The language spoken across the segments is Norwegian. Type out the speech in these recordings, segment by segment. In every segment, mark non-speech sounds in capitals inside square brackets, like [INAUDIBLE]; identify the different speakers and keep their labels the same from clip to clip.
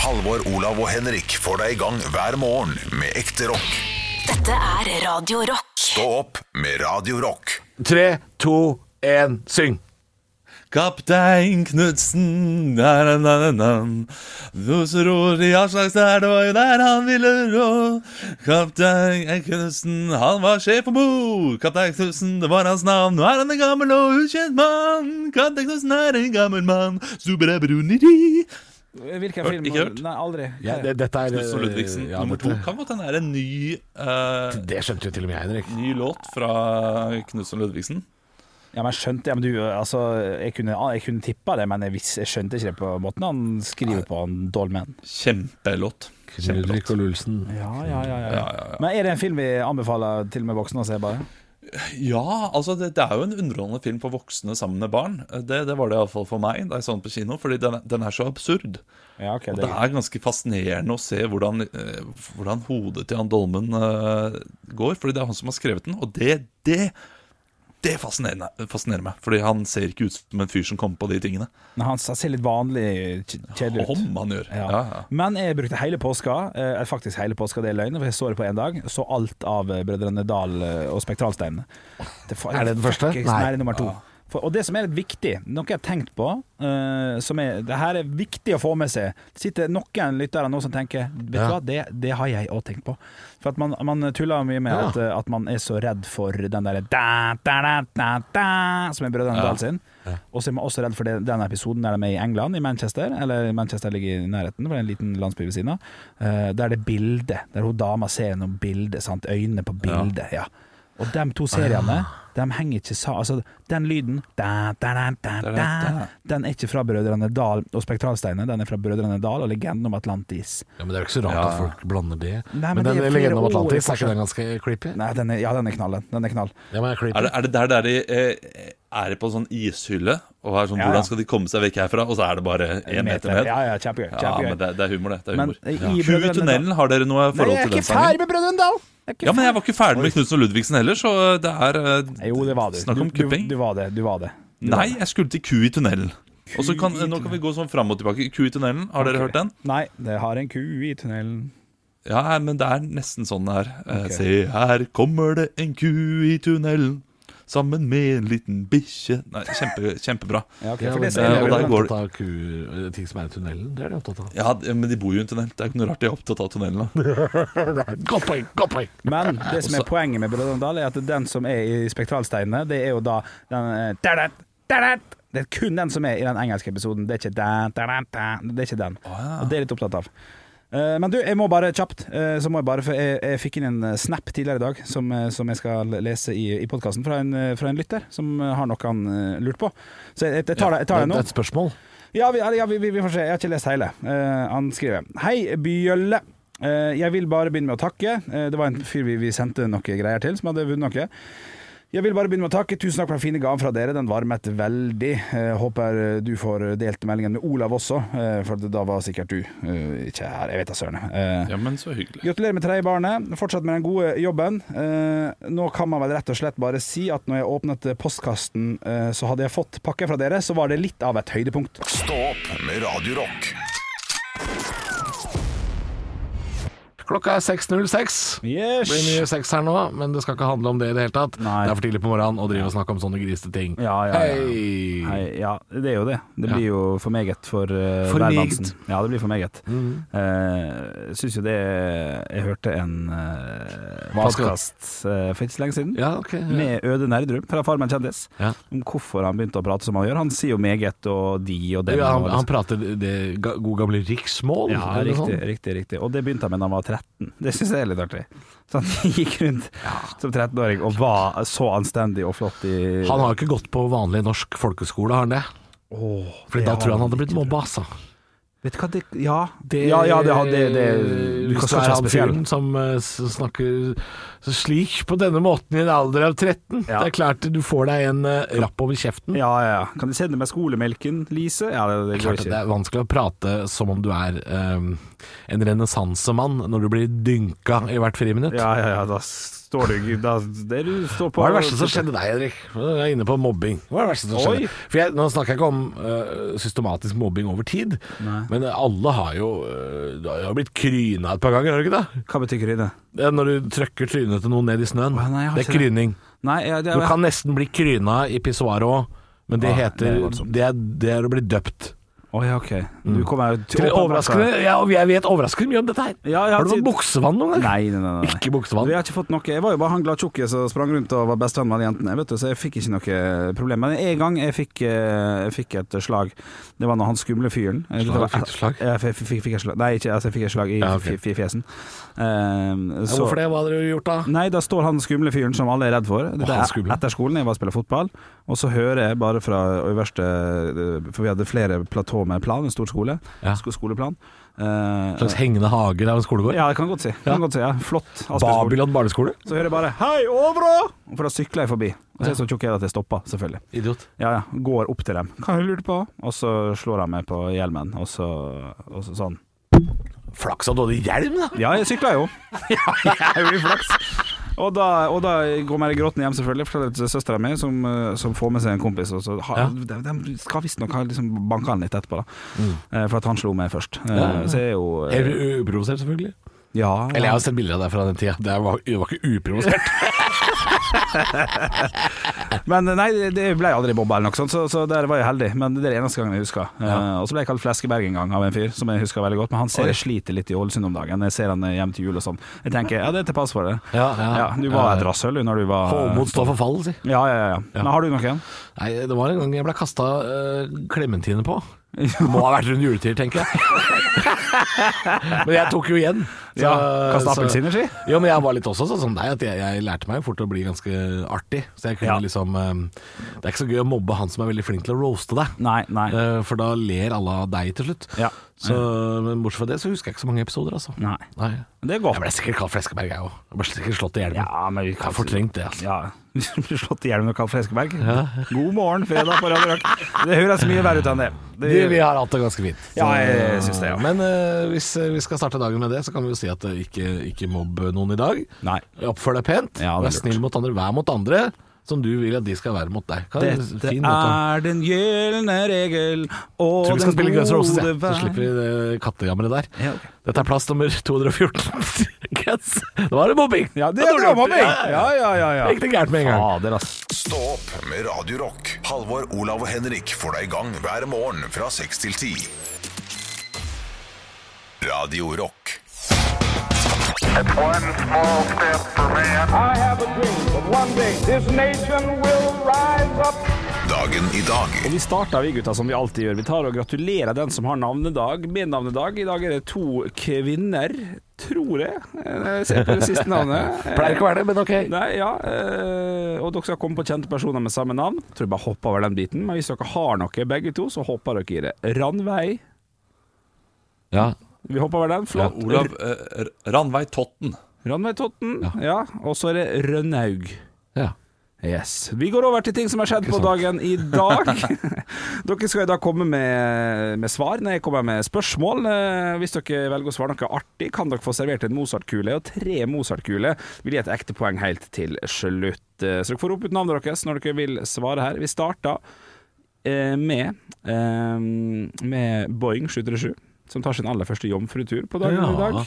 Speaker 1: Halvor, Olav og Henrik får deg i gang hver morgen med ekte rock.
Speaker 2: Dette er Radio Rock.
Speaker 1: Stå opp med Radio Rock.
Speaker 3: Tre, to, én, syng!
Speaker 4: Kaptein Knudsen na, na, na, na, na. Du som ror i all slags der, det var jo der han ville rå. Kaptein Knudsen, han var sjef på bord. Kaptein Knudsen, det var hans navn. Nå er han en gammel og ukjent mann. Kaptein Knudsen er en gammel mann. Subrabruniri.
Speaker 5: Hvilken
Speaker 4: Hørt-
Speaker 5: film?
Speaker 4: ikke hørt?
Speaker 5: Nei, aldri.
Speaker 3: Ja, det, dette er
Speaker 4: Knudsen og Ludvigsen
Speaker 3: Eh, ja,
Speaker 4: nummer to.
Speaker 3: dette-
Speaker 4: Kan godt hende det er en ny, eh,
Speaker 3: Det skjønte jo til og med jeg, Henrik.
Speaker 4: ny låt fra Knudsen og Ludvigsen.
Speaker 5: Ja, men jeg skjønte ja, men du, altså, jeg kunne, jeg kunne tippa det, men jeg, vis, jeg skjønte ikke det på måten han skriver på han Dolmen.
Speaker 4: Kjempelåt.
Speaker 3: Ludvig og Lulsen.
Speaker 5: Ja, ja, ja,
Speaker 4: Ja,
Speaker 5: ja.
Speaker 4: ja, ja.
Speaker 5: Men er det en film vi anbefaler til og med voksne å se, bare?
Speaker 4: Ja, altså det, det er jo en underholdende film for voksne sammen med barn. Det, det var det iallfall for meg da jeg så den på kino, fordi den, den er så absurd.
Speaker 5: Ja, ok,
Speaker 4: Og
Speaker 5: det
Speaker 4: det er ganske fascinerende å se hvordan, eh, hvordan hodet til han Dolmen eh, går, fordi det er han som har skrevet den, og det, det det fascinerer, fascinerer meg, fordi han ser ikke ut som en fyr som kommer på de tingene.
Speaker 5: Men han ser litt vanlig kj- kjedelig ut.
Speaker 4: Om han gjør.
Speaker 5: Ja.
Speaker 4: Ja, ja.
Speaker 5: Men jeg brukte hele påska, eh, faktisk hele påska, det er løgn, for jeg så det på én dag. Så alt av eh, Brødrene Dal eh, og Spektralsteinene. Det fa-
Speaker 3: Er det den første?
Speaker 5: fuckings-
Speaker 3: Nei.
Speaker 5: Nei, det er nummer to. For, og det som er litt viktig, noe jeg har tenkt på eh, som er, Det her er viktig å få med seg. Det sitter noen lyttere nå som tenker Vet du
Speaker 3: Ja.
Speaker 5: hva, det, det har jeg òg tenkt på. For at man, man tuller mye med
Speaker 3: Ja.
Speaker 5: at, eh, at man er så redd for den derre da, da, da, da, da, Som er Brødrene Dal sin. Og så er man også redd for det, den episoden der de er i England, i Manchester. Eller Manchester ligger i nærheten, for det er en liten landsby ved siden av. eh, der det er bilde. Der hun dama ser noen bilder. sant? Øynene på bildet. Ja. Og de to seriene,
Speaker 4: Ah.
Speaker 5: de henger ikke sa... Altså, den lyden da, da, da, da,
Speaker 4: Da, da,
Speaker 5: da,
Speaker 4: da.
Speaker 5: Den er ikke fra Brødrene Dal og Spektralsteinen. Den er fra Brødrene Dal og Legenden om Atlantis.
Speaker 3: Ja, men Det er jo ikke så rart at folk blander det.
Speaker 5: Nei,
Speaker 3: men
Speaker 5: men det
Speaker 3: den
Speaker 5: er flere
Speaker 3: legenden om
Speaker 5: år i
Speaker 3: Atlantis, er
Speaker 5: forskjell.
Speaker 3: ikke den ganske creepy?
Speaker 5: Nei, den er, ja, den er knallen. Den er knall.
Speaker 3: Ja, men er creepy.
Speaker 4: Er det, er det der der de eh, er på en sånn ishylle og er sånn
Speaker 5: Ja, ja.
Speaker 4: Hvordan skal de komme seg vekk herfra? Og så er det bare én meter ned?
Speaker 5: Ja, ja, kjempegøy.
Speaker 4: Ja,
Speaker 5: kjempegøy.
Speaker 4: men det, det er humor, det. det er
Speaker 5: Men eh,
Speaker 4: humor.
Speaker 5: i
Speaker 4: Ja.
Speaker 5: Brødrene
Speaker 4: Tjuv i tunnelen, har dere noe forhold til den sangen?
Speaker 5: med Brødrene Dal! Jeg er ikke
Speaker 4: Ja, men jeg var ikke ferdig med Knutsen og Ludvigsen heller, så det er eh,
Speaker 5: Jo, det var du.
Speaker 4: Snakk om
Speaker 5: Du-
Speaker 4: kupping.
Speaker 5: Du, du var det. Du var det. Du
Speaker 4: Nei,
Speaker 5: var det.
Speaker 4: jeg skulle til Ku i tunnelen. Og så kan, Nå kan vi gå sånn fram og tilbake. Ku i tunnelen, har dere
Speaker 5: Ok.
Speaker 4: hørt den?
Speaker 5: Nei, det har en ku i tunnelen.
Speaker 4: Ja, men det er nesten sånn det er. Eh,
Speaker 5: Ok.
Speaker 4: Se, her kommer det en ku i tunnelen. Sammen med en liten bikkje Nei, kjempe, kjempebra.
Speaker 5: Ja, ok,
Speaker 3: Ja,
Speaker 5: for
Speaker 3: men
Speaker 5: det
Speaker 3: det
Speaker 5: ser
Speaker 3: er
Speaker 4: og
Speaker 5: jeg
Speaker 3: jo
Speaker 4: der
Speaker 5: veldig bra.
Speaker 4: går-
Speaker 3: opptatt av kuer, eh, ting som er i tunnelen. Det er de opptatt av.
Speaker 4: Ja, men de bor jo i en tunnel. Det er ikke noe rart de er opptatt av tunnelen. da.
Speaker 3: Godt poeng! Godt poeng!
Speaker 5: Men det som er poenget med Brødrene Dal, er at den som er i Spektralsteinene, det er jo da den eh, da-dat, da-dat. Det er kun den som er i den engelske episoden. Det er ikke, da, da, da, da. Det er ikke den. Og det er jeg litt opptatt av. Eh, Men du, jeg må bare kjapt eh, Så må jeg bare, for jeg, jeg fikk inn en eh, snap tidligere i dag som, eh, som jeg skal lese i, i podkasten, fra, en, eh, fra en lytter som eh, har noe han eh, lurt på. Så jeg, jeg tar det, jeg
Speaker 3: Det
Speaker 5: tar
Speaker 3: er
Speaker 5: det nå.
Speaker 3: det er et spørsmål.
Speaker 5: Ja, vi, ja vi, vi, vi får se. Jeg har ikke lest hele. Eh, han skriver Hei, Bjølle. Eh, jeg vil bare begynne med å takke. Eh, det var en fyr vi, vi sendte noe greier til, som hadde vunnet noe. Jeg vil bare begynne med å takke. Tusen takk for den fine gaven fra dere. Den varmet veldig. Eh, håper du får delt meldingen med Olav også, eh, for da var sikkert du eh, ikke her. Jeg vet da søren. Eh,
Speaker 4: Ja, men så hyggelig.
Speaker 5: Gratulerer med tredje barnet. Fortsett med den gode jobben. Eh, nå kan man vel rett og slett bare si at når jeg åpnet postkassen, eh, så hadde jeg fått pakke fra dere, så var det litt av et høydepunkt.
Speaker 1: Stå opp med Radio Rock.
Speaker 3: Klokka er 6.06.
Speaker 5: Yes.
Speaker 3: Det blir mye sex her nå, men det skal ikke handle om det i det hele tatt.
Speaker 5: Nei.
Speaker 3: Det er for tidlig på morgenen å drive og snakke om sånne grisete ting.
Speaker 5: Ja, ja, ja.
Speaker 3: Hei!
Speaker 5: Nei, ja, det er jo det. Det
Speaker 3: Ja.
Speaker 5: blir jo for meget for uh,
Speaker 3: For
Speaker 5: hvermannsen.
Speaker 3: meget. Mhm.
Speaker 5: Ja, det blir for meget. Uh, Syns jo det Jeg hørte en uh,
Speaker 3: Hva skal-
Speaker 5: podkast uh, for ikke så lenge siden.
Speaker 3: Ja, ok. ja.
Speaker 5: Med Øde Nerdrum fra Farmen kjendis,
Speaker 3: Ja.
Speaker 5: om hvorfor han begynte å prate som han gjør. Han sier jo meget og de og dem.
Speaker 3: Ja, han,
Speaker 5: og
Speaker 3: han prater det ga, god gamle riksmål.
Speaker 5: ja,
Speaker 3: eller
Speaker 5: riktig,
Speaker 3: sånn.
Speaker 5: riktig, riktig. Og det begynte han med da han var 13. Det syns jeg er litt artig. Så han [LAUGHS] gikk rundt som 13-åring og var så anstendig og flott i
Speaker 3: Han har jo ikke gått på vanlig norsk folkeskole, har han det?
Speaker 5: Åh,
Speaker 3: Fordi
Speaker 5: det
Speaker 3: da tror jeg han hadde
Speaker 5: litt
Speaker 3: blitt mobba, altså.
Speaker 5: Vet du hva, det Ja, det, ja, ja, det, har- det, det Du
Speaker 3: Hvis
Speaker 5: kan
Speaker 3: du er
Speaker 5: skal ikke
Speaker 3: han
Speaker 5: spesiell.
Speaker 3: fyren som eh, s- snakker slik på denne måten i en alder av 13,
Speaker 5: Ja.
Speaker 3: det er klart du får deg en eh, rapp over kjeften.
Speaker 5: Ja, ja, ja. Kan du sende meg skolemelken, Lise? Ja, det, det går
Speaker 3: Klart at det
Speaker 5: ikke.
Speaker 3: er vanskelig å prate som om du er eh, en renessansemann når du blir dynka i hvert friminutt.
Speaker 5: Ja, ja, ja, da s- står du da, det du står på
Speaker 3: Hva er det verste som skjedde deg, Henrik? Jeg er inne på mobbing. Hva er det verste som
Speaker 5: Oi.
Speaker 3: skjedde? For jeg, Nå snakker jeg ikke om øh, systematisk mobbing over tid,
Speaker 5: Nei.
Speaker 3: men alle har jo øh, Du har jo blitt kryna et par ganger, har du ikke det?
Speaker 5: Hva betyr kryne?
Speaker 3: det er når du trøkker trynet til noen ned i snøen.
Speaker 5: Å, nei, jeg har
Speaker 3: det er
Speaker 5: ikke det.
Speaker 3: kryning.
Speaker 5: Nei, jeg, det,
Speaker 3: Du kan nesten bli kryna i pissoaret òg, men det
Speaker 5: Ah, det er
Speaker 3: heter
Speaker 5: voldsomt.
Speaker 3: det er, det er å bli døpt.
Speaker 5: Å ja, ok.
Speaker 3: Mm.
Speaker 5: Du kommer jo
Speaker 3: Til overraskende, ja, og jeg vet overraskende mye om dette her.
Speaker 5: Ja, jeg har
Speaker 3: har du fått
Speaker 5: tid-
Speaker 3: buksevann noen gang?
Speaker 5: Nei, nei, nei. nei.
Speaker 3: Ikke buksevann?
Speaker 5: Vi har ikke fått noe. Jeg var jo bare han glad tjukke som sprang rundt og var bestevenn med alle jentene, vet du, så jeg fikk ikke noe problem. Men en gang jeg fikk, eh, jeg fikk et slag. Det var når han skumle fyren eh,
Speaker 3: Slag?
Speaker 5: det var-
Speaker 3: Fikk du slag?
Speaker 5: Ja, jeg fikk, fikk, fikk et slag. Nei, ikke, altså, jeg fikk et slag i
Speaker 3: Ja, ok.
Speaker 5: f- f- fjesen. Eh,
Speaker 3: Ja, Hvorfor det? Hva hadde du gjort da?
Speaker 5: Nei, da står han skumle fyren som alle er redd for. Dette
Speaker 3: han
Speaker 5: er
Speaker 3: skumle.
Speaker 5: etter skolen, jeg var og spilte fotball, og så hører jeg bare fra øverste For vi hadde flere platå med plan, en stor skole.
Speaker 3: Ja.
Speaker 5: Sko skoleplan. Eh,
Speaker 3: En slags hengende hager av en skolegård?
Speaker 5: ja, det kan godt si. Kan godt si ja. Flott. Asbjørnskole.
Speaker 3: Babylon barneskole?
Speaker 5: Så hører jeg bare 'Hei, overå!' Og For da sykler jeg forbi. Og så er jeg så tjukk jeg er at jeg stopper, selvfølgelig.
Speaker 3: Idiot.
Speaker 5: Ja, ja. Går opp til dem. 'Hva lurer du på?' Og så slår han meg på hjelmen, og så, og så sånn.
Speaker 3: Flaks at du hadde hjelm, da!
Speaker 5: Ja, jeg sykla jo. [LAUGHS] Ja, jeg er jo i flaks. Og da, og da går man i gråten hjem, selvfølgelig. Forteller til søstera mi, som, eh, som får med seg en kompis. Og så har,
Speaker 3: Ja.
Speaker 5: de, de skal visstnok ha liksom banka han litt etterpå, da. Eh, For at han slo meg først. Eh,
Speaker 3: Ja.
Speaker 5: Så jeg er jo eh,
Speaker 3: Helt u- uprovosert, selvfølgelig.
Speaker 5: ja,
Speaker 3: Eller jeg har sett bilder av deg fra den tida. Det var, det var ikke uprovosert.
Speaker 5: Men nei, det ble aldri bobba eller noe sånt, så, så der var jeg heldig. Men det er det eneste gangen jeg husker. Eh, og så ble jeg kalt Fleskeberg en gang av en fyr som jeg husker veldig godt. Men han ser jeg sliter litt i Ålesund om dagen. Jeg ser han eh, hjem til jul og sånn. Jeg tenker ja, det er til pass for det.
Speaker 3: Ja, ja.
Speaker 5: du var
Speaker 3: Ja.
Speaker 5: et rasshøl du, når du var
Speaker 3: Håmod står for fallet, si.
Speaker 5: Ja, ja, ja. ja. Men har du noen? igjen?
Speaker 3: Ah. Nei, det var en gang jeg ble kasta klementine på. Må ha vært rundt juletider,
Speaker 5: [LAUGHS]
Speaker 3: tenker jeg. Men jeg tok jo igjen. Så-
Speaker 5: Ja, Kaste
Speaker 3: så-
Speaker 5: appelsiner, si?
Speaker 3: Jo, men jeg var litt også sånn som deg, at jeg, jeg lærte meg fort å bli ganske artig. Så jeg kunne
Speaker 5: Ja.
Speaker 3: liksom eh, Det er ikke så gøy å mobbe han som er veldig flink til å roaste deg.
Speaker 5: Nei, nei.
Speaker 3: Eh, For da ler alle av deg til slutt.
Speaker 5: Ja.
Speaker 3: Så, men bortsett fra det så husker jeg ikke så mange episoder, altså.
Speaker 5: Nei.
Speaker 3: Nei.
Speaker 5: Det er
Speaker 3: Jeg
Speaker 5: godt.
Speaker 3: ble sikkert kalt Fleskeberg, jeg òg. Ble sikkert slått i hjelmen.
Speaker 5: Ja, men vi
Speaker 3: Jeg
Speaker 5: kan
Speaker 3: har fortrengt det, altså.
Speaker 5: Ja. [LAUGHS] Blir slått i hjel med Karl Fleskeberg. God morgen, fredag på Radio Rock. Det høres mye verre ut enn det.
Speaker 3: Du, vi har hatt det ganske fint. Så-
Speaker 5: Ja, jeg synes det, ja.
Speaker 3: Men eh, hvis eh, vi skal starte dagen med det, så kan vi jo si at eh, ikke, ikke mobb noen i dag.
Speaker 5: Nei.
Speaker 3: Oppfør deg pent.
Speaker 5: Ja, det
Speaker 3: Vær
Speaker 5: er lurt.
Speaker 3: snill mot andre. Vær mot andre som du vil at de skal være mot deg. Kan,
Speaker 5: Dette
Speaker 3: fin måte.
Speaker 5: er den gylne regel og
Speaker 3: Tror vi skal
Speaker 5: den
Speaker 3: spille Guns N' Roses, jeg.
Speaker 5: gode
Speaker 3: så
Speaker 5: vær.
Speaker 3: slipper vi det kattejammeret der.
Speaker 5: Ja, ok.
Speaker 3: Dette er plass nummer [LAUGHS] 214. Guns. Nå var det mobbing!
Speaker 5: Ja, det
Speaker 3: var
Speaker 5: er
Speaker 3: dårlig
Speaker 5: bra,
Speaker 3: gjort.
Speaker 5: mobbing!
Speaker 3: Ja, ja,
Speaker 5: Ja, ja, ja. ja.
Speaker 3: ja. Gikk det gærent med en gang.
Speaker 5: Fader, altså. ass.
Speaker 1: Stå opp med Radio Rock. Halvor, Olav og Henrik får deg i gang hver morgen fra 6 til 10. Radio Rock.
Speaker 6: One small step for man. I have a dream that one day this nation will rise up.
Speaker 1: Dagen i dag.
Speaker 5: Og vi starter vi gutta som vi alltid gjør. Vi tar og gratulerer den som har navnedag med navnedag. I dag er det to kvinner, tror jeg. Eh, Se på det
Speaker 3: [LAUGHS]
Speaker 5: siste navnet. Eh,
Speaker 3: Pleier ikke å være det, men ok.
Speaker 5: Nei, ja, eh, og dere skal komme på kjente personer med samme navn. Jeg tror jeg bare hopper over den biten, men hvis dere har noe, begge to, så hopper dere i det. Ranveig.
Speaker 3: Ja.
Speaker 5: Vi hopper over den. Flott.
Speaker 4: Olav eh, R- Ranveig Totten.
Speaker 5: Ranveig Totten. Ja. Og så er det Rønnaug.
Speaker 3: ja.
Speaker 5: Yes. Vi går over til ting som har skjedd på dagen i dag. dere skal i dag komme med, med svar. Nei, jeg kommer med spørsmål. Eh, Hvis dere velger å svare noe artig, kan dere få servert en Mozart-kule. Og tre Mozart-kuler vil gi et ekte poeng helt til slutt. Eh, Så dere får rope ut navnet deres når dere vil svare her. Vi starter eh, med, eh, med Boeing 737, som tar sin aller første jomfrutur på dagen i
Speaker 3: Ja.
Speaker 5: dag.